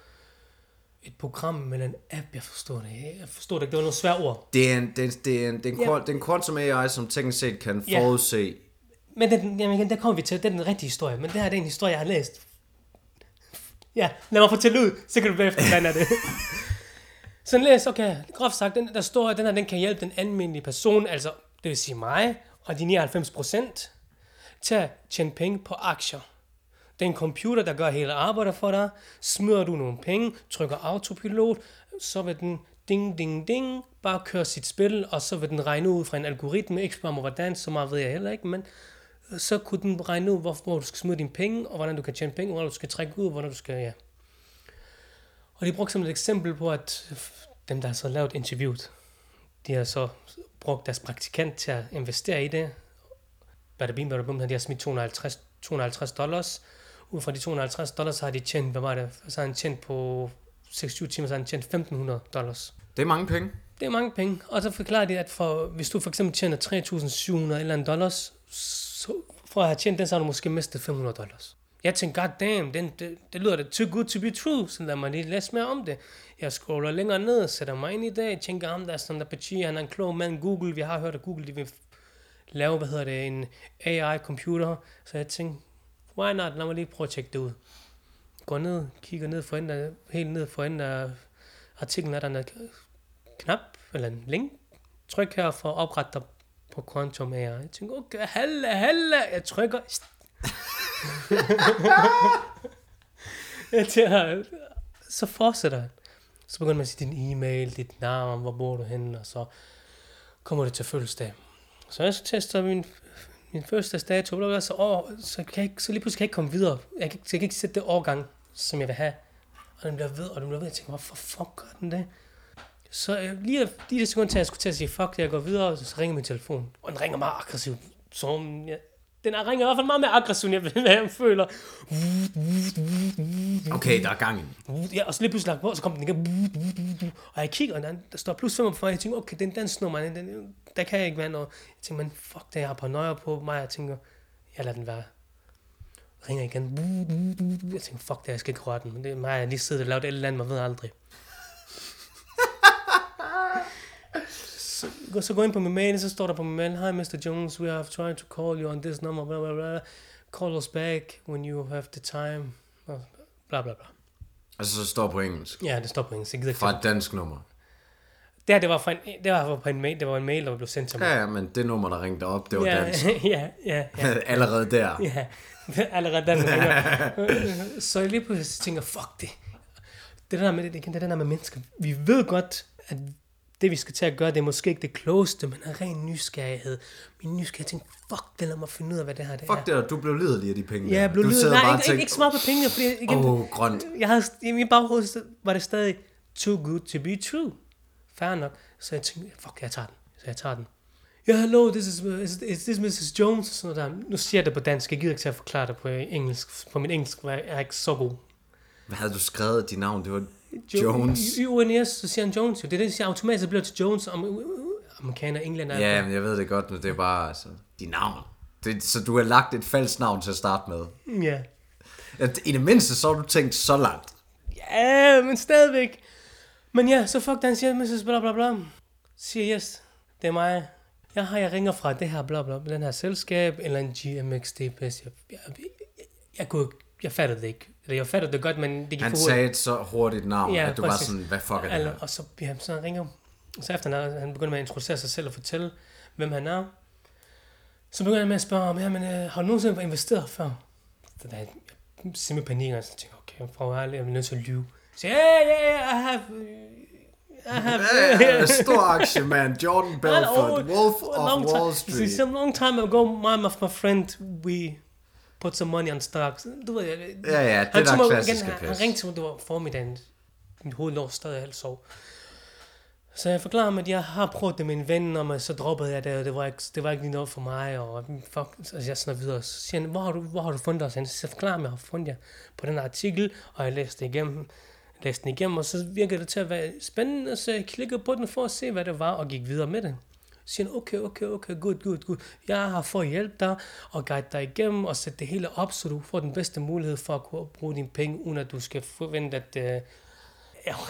Speaker 2: et program eller en app, jeg forstår det. Jeg forstår det ikke, det var noget svært ord.
Speaker 1: Det er en, det, er- det er en, det er en,
Speaker 2: Ja.
Speaker 1: yeah. det er en quantum AI, som teknisk set kan
Speaker 2: Ja.
Speaker 1: forudse.
Speaker 2: Men den, jamen igen, der kommer vi til, det er den rigtige historie, men det her det er en historie, jeg har læst. Ja, lad mig fortælle ud, så kan du bagefter blande det. Så den læser, okay, groft sagt, den, der står, at den her, den kan hjælpe den almindelige person, altså det vil sige mig, og de 99 procent, til at tjene penge på aktier. Det er en computer, der gør hele arbejdet for dig. Smider du nogle penge, trykker autopilot, så vil den ding, ding, ding, bare køre sit spil, og så vil den regne ud fra en algoritme, ikke spørg mig hvordan, så meget ved jeg heller ikke, men så kunne den regne ud, hvor, hvor du skal smide dine penge, og hvordan du kan tjene penge, og hvordan du skal trække ud, og hvordan du skal, ja. Og de brugte som et eksempel på, at dem, der har så lavet interviewet, de har så brugt deres praktikant til at investere i det. Bada bim, bada bum, de har smidt 250, 250 dollars. Ud fra de 250 dollars har de tjent, hvad var det? Så har han tjent på 26 timer, så har han tjent 1500 dollars.
Speaker 1: Det er mange penge.
Speaker 2: Det er mange penge. Og så forklarer de, at for, hvis du for eksempel tjener 3.700 eller andet dollars, så for at have tjent den, så har du måske mistet 500 dollars. Jeg tænkte, god damn, den, det, det lyder da too good to be true, så lad mig lige læse mere om det. Jeg scroller længere ned, sætter mig ind i det, jeg tænker ham, der er sådan der Pachi, han er en klog mand, Google, vi har hørt, at Google de vil lave, hvad hedder det, en AI-computer, så jeg tænkte, why not, lad mig lige prøve at tjekke det ud. Går ned, kigger ned for enden, af- helt ned for enden af artiklen, er der en knap eller en link. Tryk her for at oprette dig på Quantum AI. Jeg tænker, okay, halla, halla. Jeg trykker. jeg tænker, så fortsætter han. Så begynder man at sige din e-mail, dit navn, hvor bor du henne, og så kommer det til fødselsdag. Så jeg tester min, min fødselsdagsdato, bla, bla, bla, så, åh, så, kan jeg, ikke- så lige pludselig kan jeg ikke komme videre. Jeg kan, ikke- jeg kan ikke sætte det årgang, som jeg vil have. Og den bliver ved, og den bliver ved. Jeg tænker, hvorfor fuck gør den det? Så øh, lige lige det sekund til, at jeg skulle til at sige, fuck det, jeg går videre, så, så ringer min telefon. Og den ringer meget aggressivt. Som, ja, den ringer i hvert fald meget mere aggressivt, end jeg, hvad jeg føler.
Speaker 1: Okay, der er gang i den.
Speaker 2: Ja, og så lige pludselig lagt på, og så kom den igen. Og jeg kigger, og der, der står plus 45, og jeg tænker, okay, den dansk nummer, den, den, der kan jeg ikke være noget. Jeg tænker, men fuck det, jeg har paranoia på mig, jeg tænker, jeg lader den være. Ringer igen. Jeg tænker, fuck det, jeg skal ikke røre den. Men det er mig, jeg har lige sidder og lavet et eller andet, man ved aldrig. så, så går jeg ind på min mail, så står der på min mail, Hi Mr. Jones, we have tried to call you on this number, blah, blah, blah. Call us back when you have the time. Og Bla, bla, bla.
Speaker 1: Altså, så står på engelsk.
Speaker 2: Ja, det står på engelsk. Ikke? Det,
Speaker 1: Fra et dansk nummer.
Speaker 2: her, det var, fra en, det var fra en mail, det var en mail, der blev sendt til mig.
Speaker 1: Ja, ja, men det nummer, der ringte op, det var
Speaker 2: ja,
Speaker 1: dansk.
Speaker 2: ja, ja, ja.
Speaker 1: Allerede der.
Speaker 2: ja. Allerede den ringer. Så jeg lige pludselig så tænker, fuck det. Det der med, det, det er den der med mennesker. Vi ved godt, at det vi skal til at gøre, det er måske ikke det klogeste, men er ren nysgerrighed. Min nysgerrighed tænkte, fuck det, lad mig finde ud af, hvad det her det er.
Speaker 1: Fuck det, du blev liderlig af de penge.
Speaker 2: Ja,
Speaker 1: der.
Speaker 2: jeg blev
Speaker 1: du
Speaker 2: lydet.
Speaker 1: sad
Speaker 2: Nej,
Speaker 1: bare og
Speaker 2: ikke, ikke, ikke så meget på pengene, fordi igen,
Speaker 1: Åh, oh, grønt.
Speaker 2: jeg havde, i min baghoved så var det stadig too good to be true. Fair nok. Så jeg tænkte, fuck, jeg tager den. Så jeg tager den. Ja, yeah, hello, this is, is, is this Mrs. Jones? Og sådan noget der. Nu siger jeg det på dansk. Jeg gider ikke til at forklare det på engelsk. På min engelsk var jeg ikke så god.
Speaker 1: Hvad havde du skrevet dit navn? Det var Jones.
Speaker 2: I UNS, så siger han Jones. jo. Det er det, jeg siger automatisk, det bliver til Jones. Om, amerikaner, englænder.
Speaker 1: Ja, men jeg ved det godt, men det er bare altså, dit navn. Det, så du har lagt et falsk navn til at starte med.
Speaker 2: ja.
Speaker 1: At I det mindste, så har du tænkt så langt.
Speaker 2: Ja, men stadigvæk. Men ja, så fuck den siger, Mrs. bla bla bla. Siger yes, det er mig. Jeg har, jeg ringer fra det her bla bla, den her selskab, eller en GMX DPS. Jeg, jeg, jeg, jeg, kunne, ikke- jeg fattede det ikke. Eller jeg fattede det godt, men det gik
Speaker 1: Han
Speaker 2: for
Speaker 1: sagde et så hurtigt navn, ja,
Speaker 2: Ja,
Speaker 1: at du præcis. var
Speaker 2: præcis.
Speaker 1: sådan, hvad fuck er det
Speaker 2: Eller,
Speaker 1: her?
Speaker 2: og så, ja, så han ringer så efter han, han begynder med at introducere sig selv og fortælle, hvem han er. Så begynder han med at spørge om, jamen, øh, har du nogensinde investeret før? Så der, jeg simpelthen panik, og så tænker jeg, okay, for at være ærlig, jeg er nødt til at lyve. Så ja, ja, ja, I have... I have...
Speaker 1: Ja, stor aktiemand, Jordan
Speaker 2: Hello,
Speaker 1: Belfort, Wolf
Speaker 2: oh, a long
Speaker 1: of Wall
Speaker 2: time- See,
Speaker 1: Street.
Speaker 2: some long time ago, my, my friend, we put some money on stocks. Du ved, jeg-
Speaker 1: Ja, ja, det
Speaker 2: han
Speaker 1: der
Speaker 2: tog mig igen,
Speaker 1: klassiske
Speaker 2: han, han
Speaker 1: pis.
Speaker 2: ringte til mig, det var formiddagen. Mit hoved lå stadig halvt sov. Så jeg forklarede ham, at jeg har prøvet det med en ven, og men så droppede jeg det, og det var ikke, det var ikke lige noget for mig, og fuck, altså jeg sådan videre. Så siger han, hvor har du, hvor har du fundet os? henne?" Så jeg forklarer ham, jeg har fundet jer på den her artikel, og jeg læste det igennem, læste den igennem, og så virkede det til at være spændende, så jeg klikkede på den for at se, hvad det var, og gik videre med det. Så siger han, okay, okay, okay, good, good, good. Jeg har for at hjælpe dig og guide dig igennem og sætte det hele op, så du får den bedste mulighed for at kunne bruge dine penge, uden at du skal forvente, at... Øh, ja,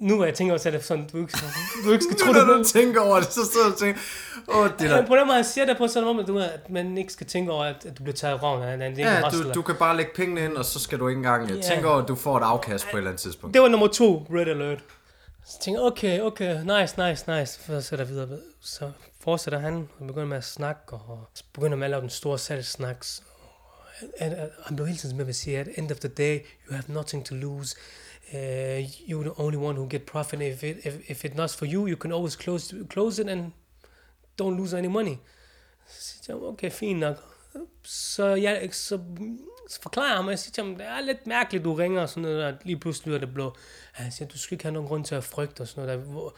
Speaker 2: nu hvor jeg tænker også, at det er sådan, du ikke, du ikke skal tro,
Speaker 1: Nu når du
Speaker 2: du
Speaker 1: tænker over det, så sidder du og tænker, åh, det
Speaker 2: Ja,
Speaker 1: der.
Speaker 2: på den måde, jeg siger det på sådan en måde, at, du, at man ikke skal tænke over, at, at du bliver taget i røven. At, at det,
Speaker 1: Ja, du, du kan bare lægge pengene ind, og så skal du ikke engang yeah. tænke over, at du får et afkast på et eller andet tidspunkt.
Speaker 2: det var nummer to, Red Alert. Så tænkte jeg, okay, okay, nice, nice, nice. Så sætter jeg videre. Så fortsætter han og begynder med at snakke, og så begynder med at lave den store salgssnak. Så- And, and, han blev hele tiden med at sige, at end of the day, you have nothing to lose. Uh, you're the only one who get profit. If it, if, if it's not for you, you can always close, close it and don't lose any money. Så siger jeg, okay, fint nok. Så, jeg, så, så forklarer jeg ham, og jeg siger til ham, det er lidt mærkeligt, du ringer og sådan noget, og lige pludselig lyder det blå. Han siger, du skal ikke have nogen grund til at frygte og sådan noget. Der. Hvor-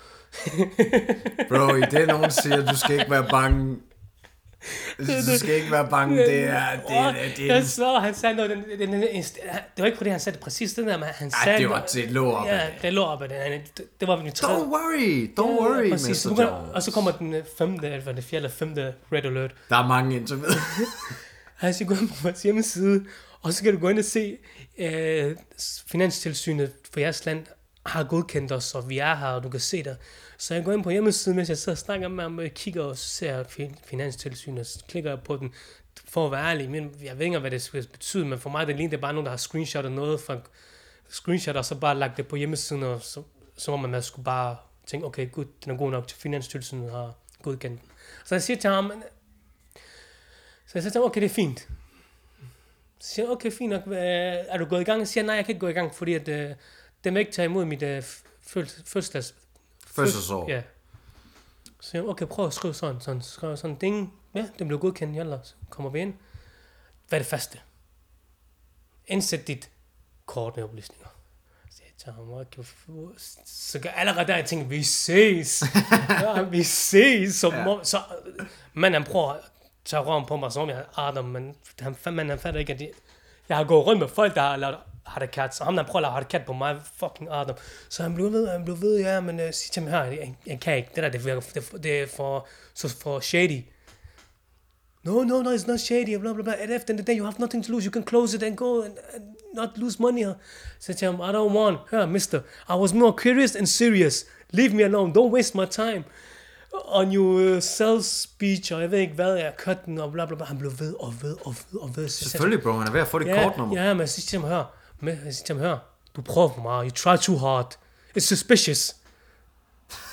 Speaker 1: Bro, i det nogen siger, at du skal ikke være bange. Du skal ikke være bange, det er, det er, det er, det er
Speaker 2: Jeg så, han sagde noget, den, den, den, den, det var ikke fordi, han sagde det præcis den der, men han
Speaker 1: Ej,
Speaker 2: sagde...
Speaker 1: det var til lå op.
Speaker 2: Ja, det lå op ad den. Det, det var min tredje.
Speaker 1: Don't worry, don't worry,
Speaker 2: Ja,
Speaker 1: ja,
Speaker 2: præcis. Så
Speaker 1: Mr.
Speaker 2: begynder- Og
Speaker 1: Jones.
Speaker 2: så kommer den øh, femte, eller den fjerde eller femte Red Alert.
Speaker 1: Der er mange indtil videre.
Speaker 2: Han skal gå ind på vores hjemmeside, og så kan du gå ind og se, øh, Finanstilsynet for jeres land har godkendt os, og vi er her, og du kan se det. Så jeg går ind på hjemmesiden, mens jeg sidder og snakker med ham, og jeg kigger og ser fin- Finanstilsynet, og så klikker jeg på den, for at være ærlig, men jeg ved ikke, hvad det skulle betyde, men for mig det lignede bare nogen, der har screenshotet noget fra screenshot, og så bare lagt det på hjemmesiden, og så, så var man, man skulle bare tænke, okay, gud, den er god nok til Finanstilsynet har godkendt den. Så jeg siger til ham, så jeg siger til ham, okay, det er fint. Så siger han, okay, fint nok, Hvad- er du gået i gang? Jeg siger, nej, jeg kan ikke gå i gang, fordi at, øh, dem vil ikke tage imod mit øh, fødsels, fødselsdags...
Speaker 1: Fødselsår.
Speaker 2: Ja. Så siger han, okay, prøv at skrive sådan, sådan, skrive sådan, ding, ja, den blev godkendt, jalla, så kommer vi ind. Hvad er det første? Indsæt dit kort med oplysninger. Så jeg tager ham, okay, fu- så gør allerede der, jeg tænker, vi ses, ja, vi ses, så, ja. så men han prøver at tage røven på mig, som om jeg er Adam, men han, fa- men han fatter ikke, at jeg, jeg har gået rundt med folk, der har lavet hardcat, så ham, der prøver at lave hardcat på mig, fucking Adam. Så han blev ved, han blev ved, ja, men uh, sig til mig her, jeg, jeg, kan ikke, det der, det, virker, det, det er for, så for shady. No, no, no, it's not shady, blah, blah, blah. At after the day, you have nothing to lose. You can close it and go and, and not lose money. Så jeg I don't want, her, mister. I was more curious and serious. Leave me alone. Don't waste my time. On your uh, sales speech, og jeg ved ikke hvad, jeg kørte den, og bla, bla, bla. Han blev ved og ved og ved og ved. Så jeg sagde,
Speaker 1: Selvfølgelig, bro, han er ved at få det
Speaker 2: Ja,
Speaker 1: kortnummer.
Speaker 2: ja, men jeg siger til ham, hør, men jeg siger til ham, hør, du prøver for meget, you try too hard, it's suspicious.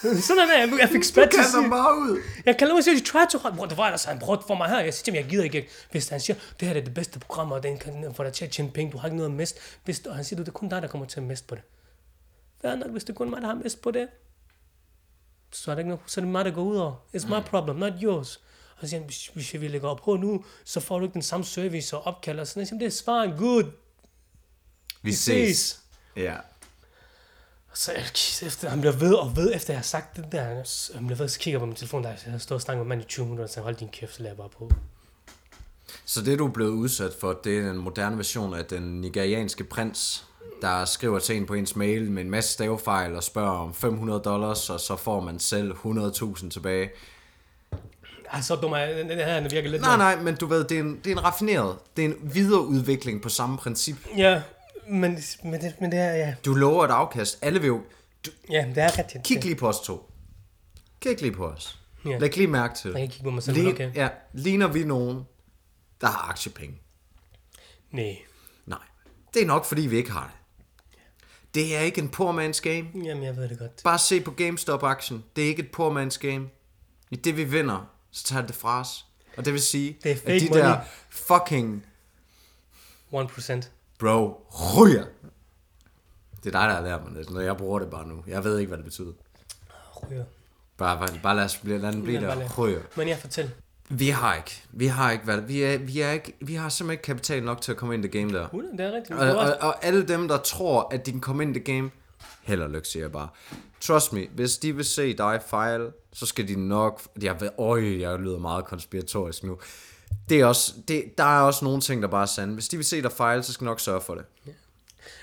Speaker 2: Sådan er det, jeg fik
Speaker 1: Du
Speaker 2: spændt til at
Speaker 1: kaster
Speaker 2: sige-
Speaker 1: ham bare ud.
Speaker 2: jeg kan lade mig sige, at de try to hard. Bro, det var ellers, han prøvede for mig her. Jeg siger til ham, jeg gider ikke. Hvis han siger, det her er det bedste program, og den kan få dig til at tjene penge, du har ikke noget at miste. Hvis, og han siger, du, det er kun dig, der kommer til at miste på det. Fair nok, hvis det er kun mig, der har mist på det. så er, der ikke noget, så er det mig, der går ud over. It's my problem, not yours. Og så siger han, hvis, hvis vi lægger op på nu, så får du ikke den samme service og opkald. Og sådan noget. Jeg siger, det er svaret, good,
Speaker 1: Vi
Speaker 2: vi ses.
Speaker 1: Ja.
Speaker 2: Og så kigger jeg efter, han bliver ved og ved, efter jeg har sagt det der. Så- Han bliver ved, så kigger jeg på min telefon, der jeg har stået og snakket med manden i 20 minutter, og så hold din kæft, så lader jeg bare på.
Speaker 1: Så det, du er blevet udsat for, det er en moderne version af den nigerianske prins, der skriver til en på ens mail med en masse stavefejl og spørger om 500 dollars, og så får man selv 100.000 tilbage.
Speaker 2: Ej, Ah, så dum er jeg. Den den her, den virker lidt
Speaker 1: Nej,
Speaker 2: mere-
Speaker 1: nej, men du ved, det er en, det er en raffineret, det er en videreudvikling på samme princip.
Speaker 2: Ja, men, men, det, men det er, ja.
Speaker 1: Du lover et afkast, alle vil jo... Du,
Speaker 2: Ja, det er rigtigt.
Speaker 1: kig lige på os to. Kig lige på os.
Speaker 2: Ja.
Speaker 1: Læg lige mærke til det.
Speaker 2: Jeg kan kigge på mig selv,
Speaker 1: Lige-
Speaker 2: men okay.
Speaker 1: ja, ligner vi nogen, der har aktiepenge?
Speaker 2: Nej.
Speaker 1: Nej. Det er nok, fordi vi ikke har det. Det er ikke en poor man's game.
Speaker 2: Jamen, jeg ved det godt.
Speaker 1: Bare se på GameStop-aktien. Det er ikke et poor man's game. I det vi vinder, så tager det fra os. Og det vil sige,
Speaker 2: Det er
Speaker 1: at
Speaker 2: fake
Speaker 1: de
Speaker 2: money.
Speaker 1: der fucking
Speaker 2: 1%.
Speaker 1: bro ryger. Det er dig, der har lært mig det. Når jeg bruger det bare nu. Jeg ved ikke, hvad det betyder.
Speaker 2: Ryger.
Speaker 1: Bare, bare, bare lad, os, blive- lad den blive
Speaker 2: Ja, bare lad.
Speaker 1: der. Ryger.
Speaker 2: Men jeg fortæl.
Speaker 1: Vi har ikke. Vi har ikke valgt. Vi er, vi er ikke. Vi har simpelthen ikke kapital nok til at komme ind i det game der.
Speaker 2: Uden, det er rigtigt.
Speaker 1: Og,
Speaker 2: Det var-
Speaker 1: og, og alle dem, der tror, at de kan komme ind i det game, held og lykke, siger jeg bare. Trust me, hvis de vil se dig fejle, så skal de nok... Jeg ved, øj, jeg lyder meget konspiratorisk nu. Det er også, det, der er også nogle ting, der bare er sande. Hvis de vil se dig fejle, så skal de nok sørge for det.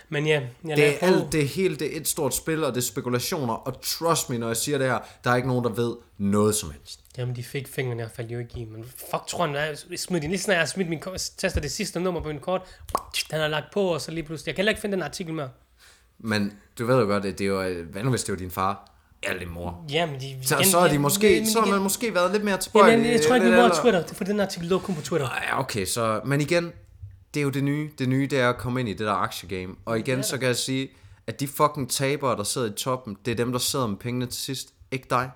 Speaker 2: Men ja, jeg
Speaker 1: Det
Speaker 2: lader
Speaker 1: er
Speaker 2: prøve.
Speaker 1: alt, det er hele, det er et stort spil, og det er spekulationer. Og trust me, når jeg siger det her, der er ikke nogen, der ved noget som helst.
Speaker 2: Jamen, de fik fingrene, jeg faldt jo ikke i. Men fuck, tror han, jeg smed de. Lige snart jeg har smidt min ko- taster det sidste nummer på min kort, den har lagt på, og så lige pludselig. Jeg kan heller ikke finde den artikel mere.
Speaker 1: Men du ved jo godt, at det er jo... øh, Hvad nu, hvis det var din far? Eller din mor?
Speaker 2: Jamen, de...
Speaker 1: Så,
Speaker 2: igen-
Speaker 1: så, er de
Speaker 2: igen-
Speaker 1: måske,
Speaker 2: men
Speaker 1: så har
Speaker 2: igen-
Speaker 1: man måske været lidt mere tilbøjelig.
Speaker 2: Jamen, jeg, jeg tror ikke,
Speaker 1: lidt
Speaker 2: vi bruger
Speaker 1: ældre.
Speaker 2: Twitter. Det er fordi, den artikel lå kun på Twitter.
Speaker 1: Ej, okay, så... Men igen, det er jo det nye. Det nye, det er at komme ind i det der aktiegame. Og igen, så kan jeg sige, at de fucking tabere, der sidder i toppen, det er dem, der sidder med pengene til sidst. Ikke dig.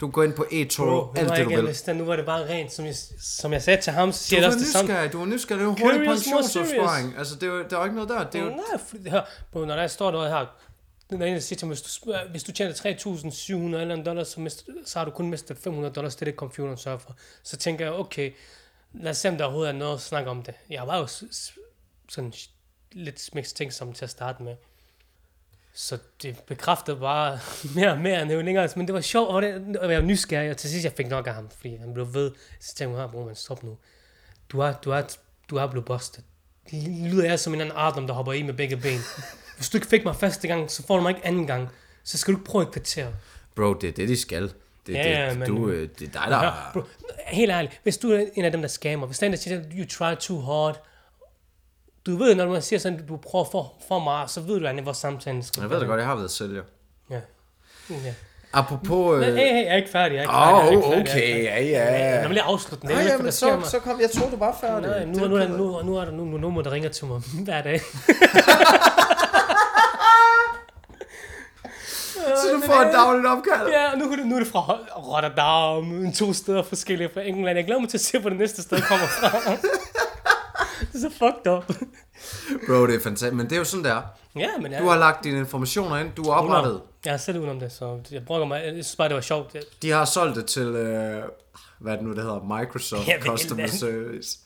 Speaker 1: Du kan gå ind på
Speaker 2: Bro,
Speaker 1: eToro,
Speaker 2: nu
Speaker 1: alt det,
Speaker 2: var jeg
Speaker 1: du
Speaker 2: ikke
Speaker 1: vil.
Speaker 2: investeret. Nu var det bare rent, som jeg, som jeg sagde til ham, så
Speaker 1: Du
Speaker 2: siger jeg
Speaker 1: er
Speaker 2: også det samme.
Speaker 1: nysgerrig, du er nysgerrig. Det er jo hurtig
Speaker 2: Curious, more serious.
Speaker 1: pensionsopsparing. Altså, det er jo, der er jo ikke noget der. Det er jo,
Speaker 2: Nej, fordi, hør, bro, når der står noget her, den der ene der siger til mig, hvis du, spørger- hvis du tjener 3.700 eller en dollar, så, mister, så har du kun mistet 500 dollars, det er det, computeren sørger for. Så tænker jeg, okay, lad os se, om der overhovedet er noget at snakke om det. Jeg var jo s- s- sådan lidt smækstænksom til at starte med. Så det bekræftede bare mere og mere, end det jo længere. Men det var sjovt, og, det, og jeg var nysgerrig, og til sidst jeg fik nok af ham, fordi han blev ved. Så tænkte jeg, bror, man stop nu. Du er, du er, du er blevet busted. Lyder jeg som en anden Adam, der hopper i med begge ben. Hvis du ikke fik mig første gang, så får du mig ikke anden gang. Så skal du ikke prøve et kvarter.
Speaker 1: bro, det er det, de skal. Det,
Speaker 2: Ja,
Speaker 1: det,
Speaker 2: ja, men-
Speaker 1: du, øh, det er dig, der...
Speaker 2: Ja, bro, helt ærligt, hvis du er en af dem, der scammer, hvis der er en, der siger, you try too hard, du ved, når man siger sådan, du prøver for, for meget, så ved du, at hvor samtalen skal
Speaker 1: Jeg ved det godt, jeg har været sælger.
Speaker 2: Ja. ja.
Speaker 1: Apropos...
Speaker 2: Men,
Speaker 1: øh,
Speaker 2: hey, hey, jeg er ikke færdig. Jeg er ikke
Speaker 1: Åh, oh,
Speaker 2: færdig, jeg er ikke færdig, jeg er
Speaker 1: okay,
Speaker 2: ikke
Speaker 1: ja,
Speaker 2: færdig.
Speaker 1: ja.
Speaker 2: Jeg vil lige afslutte den.
Speaker 1: Nej,
Speaker 2: Jeg ved ikke, hvad
Speaker 1: jamen,
Speaker 2: der sker
Speaker 1: så,
Speaker 2: mig.
Speaker 1: så kom... Jeg troede, du var færdig.
Speaker 2: Nej, nu,
Speaker 1: Det er
Speaker 2: nu, er
Speaker 1: ked
Speaker 2: der-
Speaker 1: af.
Speaker 2: nu, nu, er der nogle nummer, der ringer til mig hver dag.
Speaker 1: Så du får et dagligt opkald.
Speaker 2: Ja, nu, er det- nu er det fra Ho- Rotterdam, to steder forskellige fra England. Jeg glæder mig til at se, hvor det næste sted kommer fra. det er så fucked up.
Speaker 1: Bro, det er fantastisk. Men det er jo sådan, der.
Speaker 2: Ja, men jeg,
Speaker 1: Du har lagt dine informationer ind. Du har oprettet.
Speaker 2: Jeg har selv udenom det, så jeg brokker mig. Jeg synes bare, det var sjovt. Jeg-
Speaker 1: De har solgt det til, øh, hvad er det nu, det hedder, Microsoft
Speaker 2: Ja, vel,
Speaker 1: Customer
Speaker 2: mand.
Speaker 1: Service.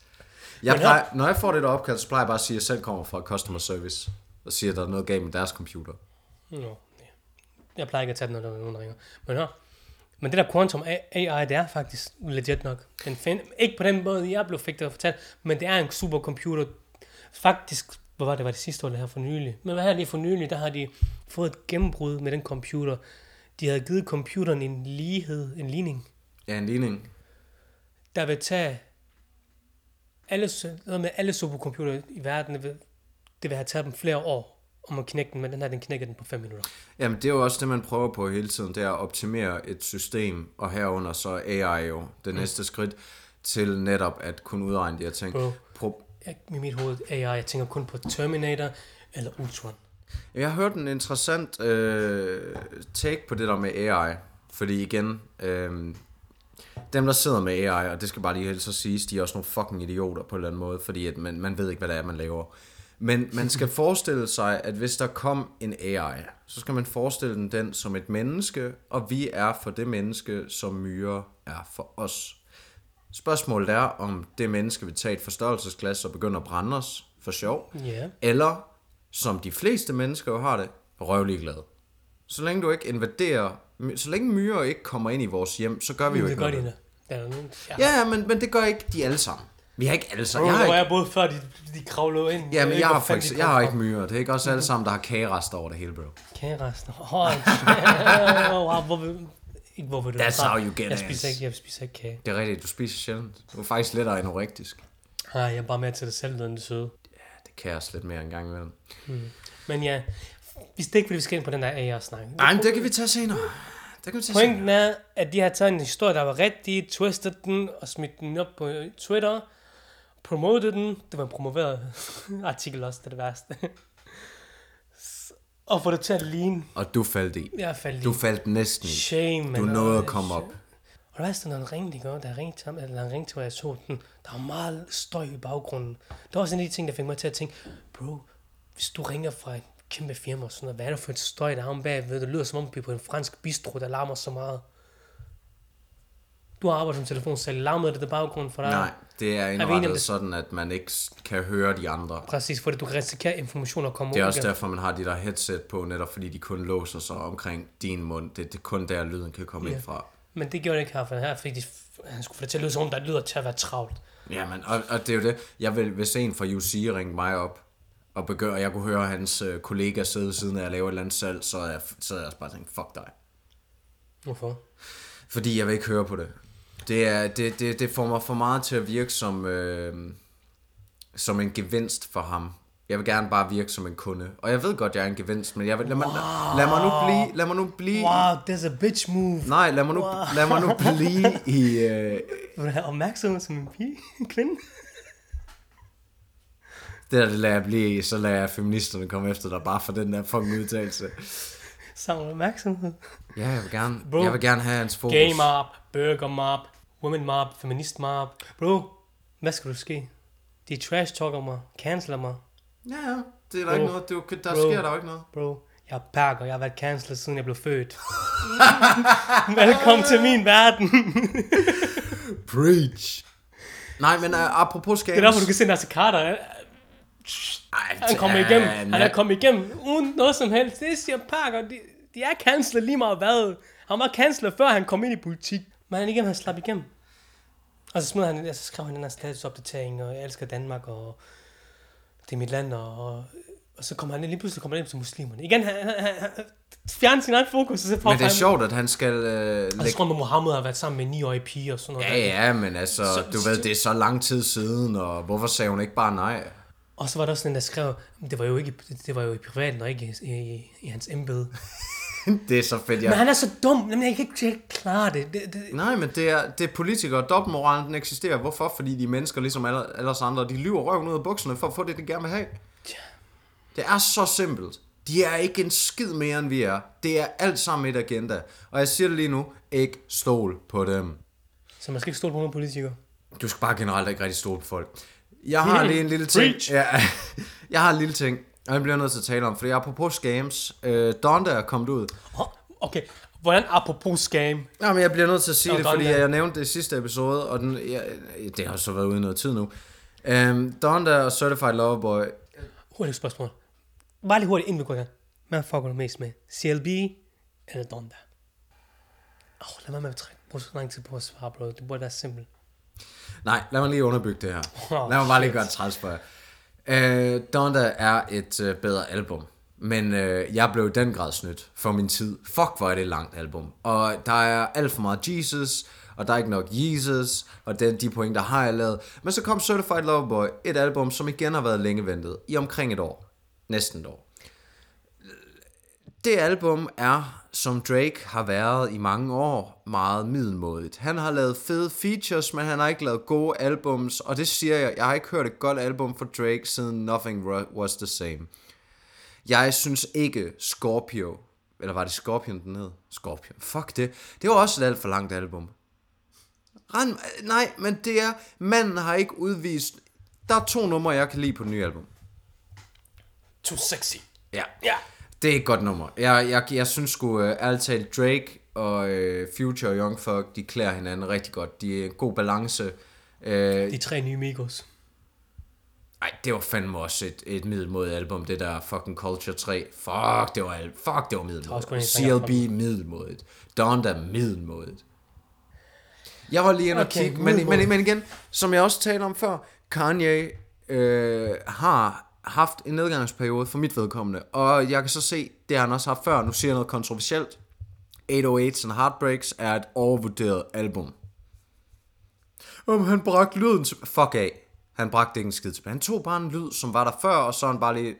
Speaker 1: Jeg
Speaker 2: Men
Speaker 1: plejer, når jeg får det der opkald, så plejer jeg bare at sige, at jeg selv kommer fra Customer Service, og siger, at der er noget galt med deres computer.
Speaker 2: Nå, ja. Jeg plejer ikke at tage den, når der er nogen, der ringer. Men hør, men det der quantum A- AI, det er faktisk legit nok. Den find, ikke på den måde, jeg blev fik det fortalt, men det er en supercomputer. Faktisk, hvor var det, var det sidste år, det her for nylig. Men hvad her lige for nylig, der har de fået et gennembrud med den computer. De havde givet computeren en lighed, en ligning,
Speaker 1: Ja, en ligning.
Speaker 2: der vil tage alle, su- noget med alle supercomputere i verden, det vil, det vil have taget dem flere år om at knække den, men den her, den knækker den på 5 minutter.
Speaker 1: Jamen, det er jo også det, man prøver på hele tiden, det er at optimere et system, og herunder så AI jo det næste skridt, til netop at kunne udregne de her ting.
Speaker 2: Bro.
Speaker 1: Pro-
Speaker 2: jeg, i mit hoved AI, jeg tænker kun på Terminator eller Ultron.
Speaker 1: Jeg har hørt en interessant øh, take på det der med AI, fordi igen, øh, dem der sidder med AI, og det skal bare lige helst så siges, de er også nogle fucking idioter på en eller anden måde, fordi at man, man ved ikke, hvad det er, man laver. Men man skal forestille sig, at hvis der kom en AI, så skal man forestille den, den som et menneske, og vi er for det menneske, som myrer er for os. Spørgsmålet er, om det menneske vil tage et forstørrelsesglas og begynde at brænde os for sjov,
Speaker 2: Ja.
Speaker 1: eller, som de fleste mennesker jo har det, røvlig glad. Så længe du ikke invaderer, så længe myrer ikke kommer ind i vores hjem, så gør vi jo
Speaker 2: Det
Speaker 1: ikke
Speaker 2: er godt,
Speaker 1: noget.
Speaker 2: Ina. Der er nogen. Ja.
Speaker 1: Ja, ja, men, men det gør ikke de alle sammen. Vi har ikke alle sammen.
Speaker 2: Jeg
Speaker 1: Jeg har
Speaker 2: var
Speaker 1: ikke,
Speaker 2: jeg både før, de, de kravlede ind.
Speaker 1: ja, men jeg har, for
Speaker 2: faktisk...
Speaker 1: eksempel, jeg har ikke myrer. Det er ikke også alle sammen, der har kagerester over det hele, bro.
Speaker 2: Kagerester. Hold kæft. wow, hvor vil... Ikke hvorfor du
Speaker 1: That's how you get
Speaker 2: jeg
Speaker 1: ass.
Speaker 2: spiser ikke, jeg spiser ikke kage.
Speaker 1: Det er rigtigt, du spiser sjældent. Du er faktisk lidt anorektisk.
Speaker 2: Nej, jeg er bare med til det selv, når det søde.
Speaker 1: Ja, det kan jeg også lidt mere en gang imellem.
Speaker 2: Men ja, vi skal ikke, fordi vi skal ind på den der AR-snak.
Speaker 1: Nej, men det kan vi tage senere. Det kan vi tage senere.
Speaker 2: Pointen er, at de har taget en historie, der var rigtig, twistet den og smidt den op på Twitter, promotet den. Det var en promoveret artikel også, det er det værste. S- og få det til at ligne.
Speaker 1: Og du faldt i.
Speaker 2: Jeg faldt
Speaker 1: Du
Speaker 2: lige.
Speaker 1: faldt næsten i.
Speaker 2: Shame,
Speaker 1: Du
Speaker 2: mand.
Speaker 1: nåede
Speaker 2: Åh,
Speaker 1: at komme op.
Speaker 2: Og der er sådan noget ring, de gør, der ringte til ham, eller han ringte til mig, jeg så den. Der var meget støj i baggrunden. Det var også en af de ting, der fik mig til at tænke, bro, hvis du ringer fra et kæmpe firma og sådan noget, hvad er det for et støj, der er om bagved? Det lyder som om, vi er på en fransk bistro, der larmer så meget. Du har arbejdet som telefonsælger, larmede det i baggrunden for dig?
Speaker 1: Nej, det er
Speaker 2: om
Speaker 1: indrettet
Speaker 2: det?
Speaker 1: sådan, at man ikke s- kan høre de andre.
Speaker 2: Præcis, fordi du kan risikere informationer kommer
Speaker 1: Det er
Speaker 2: ud
Speaker 1: også
Speaker 2: igen.
Speaker 1: derfor, man har de der headset på, netop fordi de kun låser sig omkring din mund. Det det er kun der, lyden kan komme ind fra.
Speaker 2: Men det gjorde det ikke her, for her fik de, han skulle få det til at lyde som om, der lyder til at være travlt.
Speaker 1: Jamen, og, og det er jo det. Jeg vil, hvis en fra UC ringte mig op, og begynder, og jeg kunne høre hans øh, kollega sidde ved siden af, at jeg laver et eller andet salg, så er jeg, så er jeg også bare tænkt, fuck dig.
Speaker 2: Hvorfor?
Speaker 1: Fordi jeg vil ikke høre på det. Det, er, det, det, det får mig for meget til at virke som, øh, som en gevinst for ham. Jeg vil gerne bare virke som en kunde. Og jeg ved godt, jeg er en gevinst, men jeg vil, lad, mig, lad, lad mig nu blive, lad mig nu blive
Speaker 2: Wow, that's a bitch move.
Speaker 1: Nej, lad mig nu, wow. lad mig nu blive i... Øh,
Speaker 2: Vil du have opmærksomhed som en pige, en kvinde?
Speaker 1: det der, det lader jeg blive i, så lader jeg feministerne komme efter dig, bare for den der fucking udtalelse.
Speaker 2: Samle opmærksomhed.
Speaker 1: Ja, jeg vil gerne,
Speaker 2: Bro.
Speaker 1: jeg vil gerne have hans fokus.
Speaker 2: Gay mob, burger mob, women mob, feminist mob. Bro, hvad skal du ske? De trash talker mig, canceler mig.
Speaker 1: Ja, ja, det er der ikke
Speaker 2: Bro.
Speaker 1: noget, det er, jo- der
Speaker 2: Bro.
Speaker 1: sker der jo ikke noget.
Speaker 2: Bro, jeg er perker, jeg har været cancelet siden jeg blev født. Velkommen til min verden.
Speaker 1: Preach. Nej, men uh, apropos
Speaker 2: Det
Speaker 1: scams.
Speaker 2: er derfor, du kan se Nasser Carter.
Speaker 1: Ej,
Speaker 2: øh, Han kommer
Speaker 1: ja,
Speaker 2: igennem. Han er
Speaker 1: ja.
Speaker 2: kommet igennem uden noget som helst. Det siger Parker. De, de er cancelet lige meget hvad. Han var cancelet, før han kom ind i politik. Men han er igennem, han slap igennem. Og så, smed han, og så skrev han den her statusopdatering, og jeg elsker Danmark, og det er mit land, og, og, og så kommer han ind- lige pludselig kommer han ind til muslimerne. Igen, han, han, han, han fjerner sin egen fokus, og så får
Speaker 1: Men det
Speaker 2: han...
Speaker 1: er sjovt, at han skal øh,
Speaker 2: Og så
Speaker 1: lægge...
Speaker 2: tror man, Mohammed har været sammen med en 9-årig pige og sådan noget.
Speaker 1: Ja, ja, men altså,
Speaker 2: Så-
Speaker 1: du ved, det er så lang tid siden, og hvorfor sagde hun ikke bare nej?
Speaker 2: Og så var der også den, der skrev, det var jo, ikke, det var jo i privaten og ikke i, i, i hans embede.
Speaker 1: det er så fedt, jeg
Speaker 2: Men han er så dum. Jamen, jeg kan ikke helt klare det. det, det.
Speaker 1: Nej, men det er, det er politikere. Dobbeltmoralen den eksisterer. Hvorfor? Fordi de mennesker, ligesom alle, alle os andre, de lyver røven ud af bukserne for at få det, de gerne vil have. Det er så simpelt. De er ikke en skid mere, end vi er. Det er alt sammen et agenda. Og jeg siger det lige nu, ikke stol på dem.
Speaker 2: Så man skal ikke stole på nogen politikere.
Speaker 1: Du skal bare generelt ikke rigtig stole på folk. Jeg har lige en lille ting.
Speaker 2: Preach.
Speaker 1: Ja, jeg har en lille ting, og den bliver jeg nødt til at tale om, fordi apropos scams, øh, Donda er kommet ud.
Speaker 2: Oh, okay, hvordan apropos scam?
Speaker 1: Nej, men jeg bliver nødt til at sige
Speaker 2: Og
Speaker 1: det, fordi
Speaker 2: Donda.
Speaker 1: jeg nævnte det i sidste episode, og den, jeg, det har så været ude i noget tid nu. Um, Donda og Certified Loverboy.
Speaker 2: Hurtigt spørgsmål. Bare lige hurtigt, inden vi går i gang. Hvad fucker du mest med? CLB eller Donda? Åh, oh, lad mig med at trække. Brug så lang tid på at svare, bro. Det burde være simpelt.
Speaker 1: Nej, lad mig lige underbygge det her.
Speaker 2: Oh,
Speaker 1: lad mig bare lige
Speaker 2: shit.
Speaker 1: gøre en træls for jer. Øh, Donda er et øh, bedre album, men øh, jeg blev i den grad snydt for min tid. Fuck, hvor er det et langt album. Og der er alt for meget Jesus, og der er ikke nok Jesus, og den, de point, der har jeg lavet. Men så kom Certified Loverboy, et album, som igen har været længe ventet, i omkring et år. Næsten et år. Det album er, som Drake har været i mange år, meget middelmådigt. Han har lavet fede features, men han har ikke lavet gode albums, og det siger jeg, jeg har ikke hørt et godt album fra Drake siden Nothing Wa- Was The Same. Jeg synes ikke Scorpio, eller var det Scorpion den hed? Scorpion, fuck det. Det var også et alt for langt album. Rand, nej, men det er, manden har ikke udvist, der er to numre, jeg kan lide på det nye album.
Speaker 2: Too sexy.
Speaker 1: Ja.
Speaker 2: Ja.
Speaker 1: Det er et godt nummer. Jeg, jeg, jeg synes sgu, uh, ærligt talt, Drake og uh, Future og Young Thug, de klæder hinanden rigtig godt. De er en god balance. Uh,
Speaker 2: De tre nye Migos.
Speaker 1: ej, det var fandme også et, et middelmodigt album, det der fucking Culture 3. Fuck, det var, al- fuck, det var
Speaker 2: også kun
Speaker 1: middelmodigt.
Speaker 2: en sang, jeg har
Speaker 1: CLB middelmodigt. Donda middelmodigt. Jeg var lige inde og
Speaker 2: Okay,
Speaker 1: kigge, men, men,
Speaker 2: middelmodigt.
Speaker 1: men igen, som jeg også talte om før, Kanye øh, har haft en nedgangsperiode for mit vedkommende, og jeg kan så se, det har han også haft før, nu siger jeg noget kontroversielt. 808's and Heartbreaks er et overvurderet album. Om han bragte lyden til... Fuck af. Han bragte ikke en skid tilbage. Han tog bare en lyd, som var der før, og så han bare lige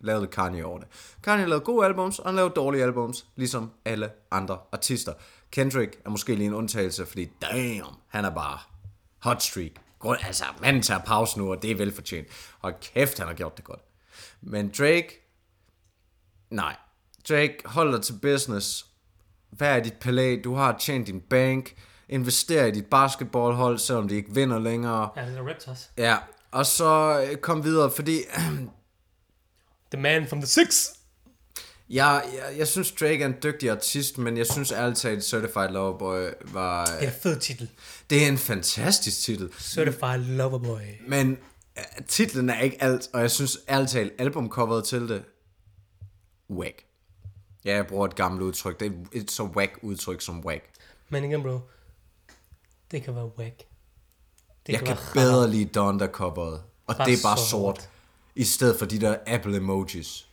Speaker 1: lavede lidt Kanye over det. Kanye lavede gode albums, og han lavede dårlige albums, ligesom alle andre artister. Kendrick er måske lige en undtagelse, fordi damn, han er bare hot streak. Grund, altså, manden tager pause nu, og det er velfortjent. Og kæft, han har gjort det godt. Men Drake, nej. Drake, hold dig til business. Hvad er dit palæ? Du har tjent din bank. Invester i dit basketballhold, selvom de ikke vinder længere.
Speaker 2: Ja, det er Raptors.
Speaker 1: Ja, og så øh, kom videre, fordi
Speaker 2: The man from the six.
Speaker 1: jeg, jeg, jeg synes, Drake er en dygtig artist, men jeg synes ærligt talt, Certified Lover Boy var...
Speaker 2: Det er en fed titel.
Speaker 1: Det er en fantastisk titel,
Speaker 2: Certified Lover Boy.
Speaker 1: men øh, titlen er ikke alt, og jeg synes ærligt talt, albumcoveret til det... Whack. Ja, jeg bruger et gammelt udtryk. Det er et så whack udtryk som whack.
Speaker 2: Men igen, bro. Det kan være whack. Det
Speaker 1: Jeg kan
Speaker 2: være
Speaker 1: bedre lide Donda-coveret, og
Speaker 2: Bare
Speaker 1: det er bare
Speaker 2: så hårdt.
Speaker 1: sort, i stedet for de der Apple-emojis.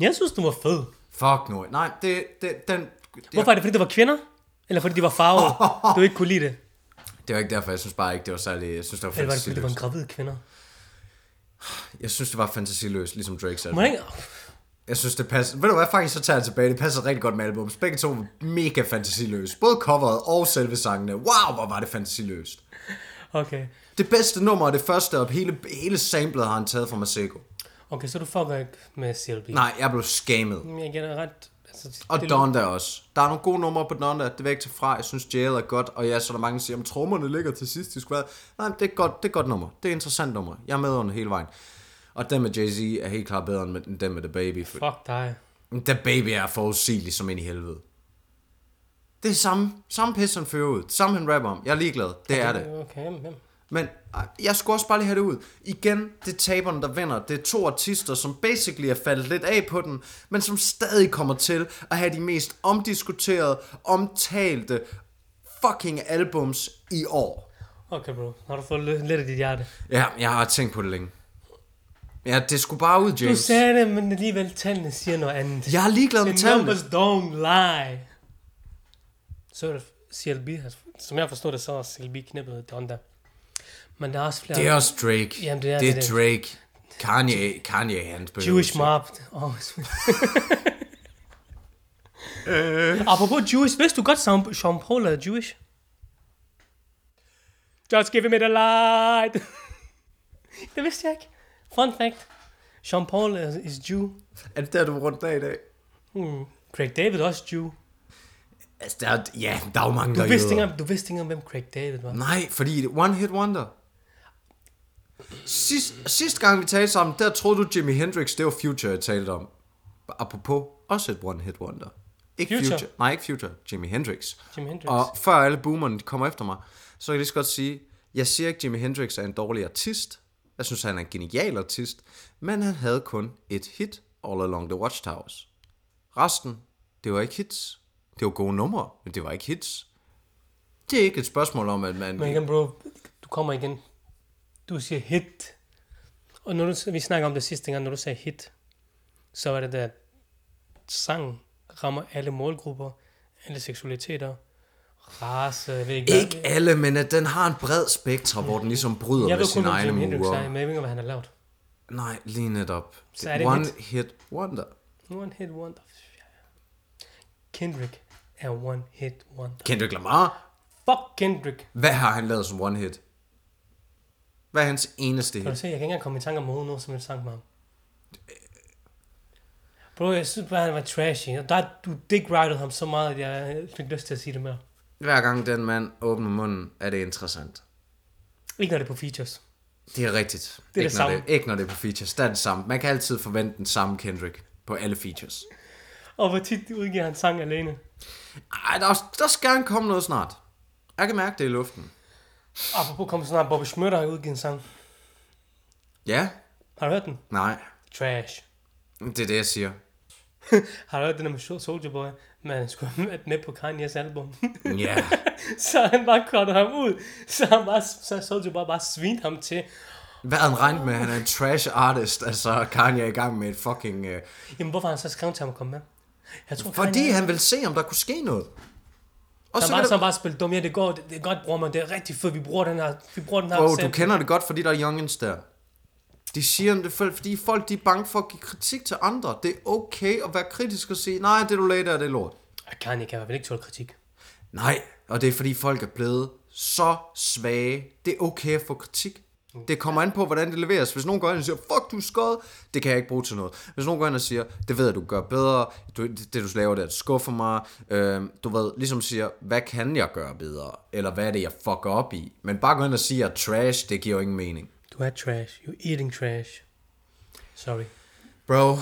Speaker 2: Jeg synes, du var fed.
Speaker 1: Fuck nu. Nej, det, det, den, det,
Speaker 2: Hvorfor er det, fordi det var kvinder? Eller fordi de var farvede? du ikke kunne lide det?
Speaker 1: det var ikke derfor, jeg synes bare ikke, det var særlig... Jeg synes, det var
Speaker 2: Eller var det, fordi det var
Speaker 1: fantasiløst.
Speaker 2: en gravid kvinder?
Speaker 1: Jeg synes, det var fantasiløst, ligesom Drake selv.
Speaker 2: Må jeg ikke...
Speaker 1: Jeg synes, det passer... Ved du hvad, faktisk så tager jeg tilbage. Det passer rigtig godt med albums. Begge to var mega fantasiløse. Både coveret og selve sangene. Wow, hvor var det fantasiløst.
Speaker 2: Okay.
Speaker 1: Det bedste nummer er det første op. Hele, hele samlet har han taget fra Masego.
Speaker 2: Okay, så du fucker ikke med CLB.
Speaker 1: Nej, jeg blev scammet.
Speaker 2: Men Jeg gælder ret... Altså, det-
Speaker 1: Og
Speaker 2: det-
Speaker 1: Donda også. Der er nogle gode numre på Donda, det vil jeg ikke tage fra. Jeg synes, Jail er godt, og ja, så er der mange, der siger, at trommerne ligger til sidst i squad. Nej, men det er, et godt, det er et godt nummer. Det er et interessant nummer. Jeg er med under hele vejen. Og den med Jay-Z er helt klart bedre end med- end den med The Baby. For
Speaker 2: Fuck dig.
Speaker 1: The Baby er forudsigelig som ind i helvede. Det er samme, samme pis, han fører ud. Samme han rapper om. Jeg er ligeglad. Det er det.
Speaker 2: Okay, jamen, jamen.
Speaker 1: Men ej, jeg skulle også bare lige have det ud. Igen, det er taberne, der vinder. Det er to artister, som basically er faldet lidt af på den, men som stadig kommer til at have de mest omdiskuterede, omtalte fucking albums i år.
Speaker 2: Okay, bro. Har du fået lidt lidt af dit hjerte?
Speaker 1: Ja, jeg har tænkt på det længe. Ja, det skulle bare ud,
Speaker 2: Du
Speaker 1: James.
Speaker 2: sagde det, men alligevel tallene siger noget andet.
Speaker 1: Jeg er ligeglad med
Speaker 2: The
Speaker 1: tallene.
Speaker 2: numbers don't lie. Så er det CLB, altså, som jeg forstod det, så er CLB knippet Donda. Men der er også flere
Speaker 1: Det er også Drake.
Speaker 2: Jamen, det er
Speaker 1: det er
Speaker 2: det.
Speaker 1: Drake. Kanye, Kanye han behøver
Speaker 2: Jewish
Speaker 1: ikke.
Speaker 2: mob. Oh, Apropos Jewish, vidste du godt, Sean- Sean Paul er Jewish? Just give me the light. det vidste jeg ikke. Fun fact. Sean Paul is, is Jew.
Speaker 1: Er det der, du er rundt af i dag?
Speaker 2: Hmm. Craig David er også Jew.
Speaker 1: Altså, der er, ja, der er jo mange,
Speaker 2: Du
Speaker 1: der er
Speaker 2: vidste,
Speaker 1: jøder.
Speaker 2: ikke, engang- du vidste ikke, engang, hvem Craig David var.
Speaker 1: Nej, fordi det- One Hit Wonder. Sidst, sidste gang vi talte sammen, der troede du Jimi Hendrix, det var Future, jeg talte om. Apropos, også et One Hit Wonder. Ikke
Speaker 2: Future?
Speaker 1: Future. Nej, ikke Future. Jimi Hendrix.
Speaker 2: Jimi Hendrix.
Speaker 1: Og før alle boomerne de kommer efter mig, så kan jeg lige så godt sige, jeg siger ikke, at Jimi Hendrix er en dårlig artist. Jeg synes, han er en genial artist. Men han havde kun et hit, All Along the Watchtowers. Resten, det var ikke hits. Det var gode numre, men det var ikke hits. Det er ikke et spørgsmål om, at man...
Speaker 2: Men igen, bro, du kommer igen. Du siger hit. Og når du, vi snakker om det sidste gang, når du sagde hit, så var det der, at sang rammer alle målgrupper, alle seksualiteter, race, jeg ved ikke, hvad-
Speaker 1: Ikke alle, men at den har en bred spektre, hvor den ligesom bryder
Speaker 2: jeg
Speaker 1: med
Speaker 2: ved kun,
Speaker 1: sine
Speaker 2: hvad
Speaker 1: egne
Speaker 2: Jimi Hendrix er,
Speaker 1: mure.
Speaker 2: men jeg ved ikke, hvad han har lavet.
Speaker 1: Nej, lige netop.
Speaker 2: Så er det
Speaker 1: One
Speaker 2: lidt-
Speaker 1: hit wonder.
Speaker 2: One hit wonder. Kendrick er one hit wonder.
Speaker 1: Kendrick Lamar,
Speaker 2: Fuck Kendrick.
Speaker 1: hvad har han lavet som one hit? Hvad er hans eneste
Speaker 2: Kan du
Speaker 1: hit?
Speaker 2: se, jeg kan ikke engang komme i tanke om hovedet nu, som jeg sang med ham. Bro, jeg synes bare, han var trashy. Og Der, du dick rided ham så meget, at jeg fik lyst til at sige det mere.
Speaker 1: Hver gang den mand åbner munden, er det interessant.
Speaker 2: Ikke når det er på features.
Speaker 1: Det er rigtigt.
Speaker 2: det
Speaker 1: ikke, når
Speaker 2: samme.
Speaker 1: Det, ikke når det er på features. Der er det samme. Man kan altid forvente den samme Kendrick på alle features.
Speaker 2: Og hvor tit udgiver han sang alene.
Speaker 1: Ej, der, er også, der skal han komme noget snart. Jeg kan mærke det i luften.
Speaker 2: Apropos kom snart, Bobby Schmøtter har udgivet en sang.
Speaker 1: Ja?
Speaker 2: Har du hørt den?
Speaker 1: Nej.
Speaker 2: Trash.
Speaker 1: Det er det, jeg siger.
Speaker 2: Har du hørt den der med Sol- Soldier Boy? Man skulle have været med på Kanye's album.
Speaker 1: Ja.
Speaker 2: så han bare cuttede ham ud. Så, han bare, så Soldier Boy bare svinede ham til.
Speaker 1: Hvad havde han regnet med? Han er en trash artist. Altså, Kanye er i gang med et fucking... Øh...
Speaker 2: Jamen, hvorfor har han så skrevet til ham at komme med? Jeg tror,
Speaker 1: Fordi
Speaker 2: Kanye-
Speaker 1: han vil se, om der kunne ske noget. Og
Speaker 2: Der
Speaker 1: så
Speaker 2: var altså
Speaker 1: kan
Speaker 2: sådan
Speaker 1: der...
Speaker 2: bare spillet dum. Ja, det går, det, det er godt, bror, men det er rigtig fedt. Vi bruger den her, vi bruger den her
Speaker 1: Bro, du
Speaker 2: sætning.
Speaker 1: kender det godt, fordi der er youngins der. De siger, om det er fordi folk de er bange for at give kritik til andre. Det er okay at være kritisk og sige, nej, det du lagde der, det er lort.
Speaker 2: Ah, Kanye kan i hvert fald ikke tåle kritik.
Speaker 1: Nej, og det er fordi folk er blevet så svage. Det er okay at få kritik. Det kommer an på, hvordan det leveres. Hvis nogen går ind og siger, fuck, du er skød, det kan jeg ikke bruge til noget. Hvis nogen går ind og siger, det ved jeg, du gør bedre, du, det, det, du laver, det skuffer mig. Øhm, du ved, ligesom siger, hvad kan jeg gøre bedre? Eller hvad er det, jeg fucker op i? Men bare gå ind og sige, at jeg er trash, det giver jo ingen mening.
Speaker 2: Du er trash. You eating trash. Sorry.
Speaker 1: Bro,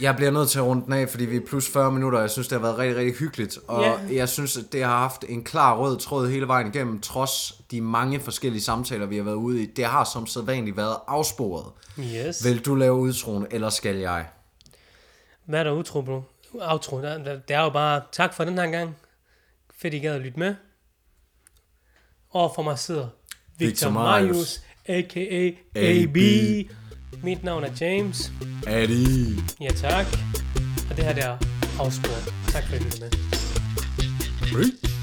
Speaker 1: jeg bliver nødt til at runde den af, fordi vi er plus 40 minutter, og jeg synes, det har været rigtig, rigtig hyggeligt. Og
Speaker 2: Ja.
Speaker 1: yeah. jeg synes, at det har haft en klar rød tråd hele vejen igennem, trods de mange forskellige samtaler, vi har været ude i. Det har som sædvanligt været afsporet.
Speaker 2: Yes. Vel.
Speaker 1: Vil du lave udstroen, eller skal jeg?
Speaker 2: Hvad er der utro, bro? Outro. Der, der, det er jo bare tak for den her gang. Fedt, I gad at lytte med. Og for mig sidder Victor,
Speaker 1: Victor Marius.
Speaker 2: Marius, a.k.a.
Speaker 1: AB.
Speaker 2: AB. Mit navn er James.
Speaker 1: Adi.
Speaker 2: Ja, tak. Og det her der er afspor. Tak for at I lyttede med.
Speaker 1: Preach.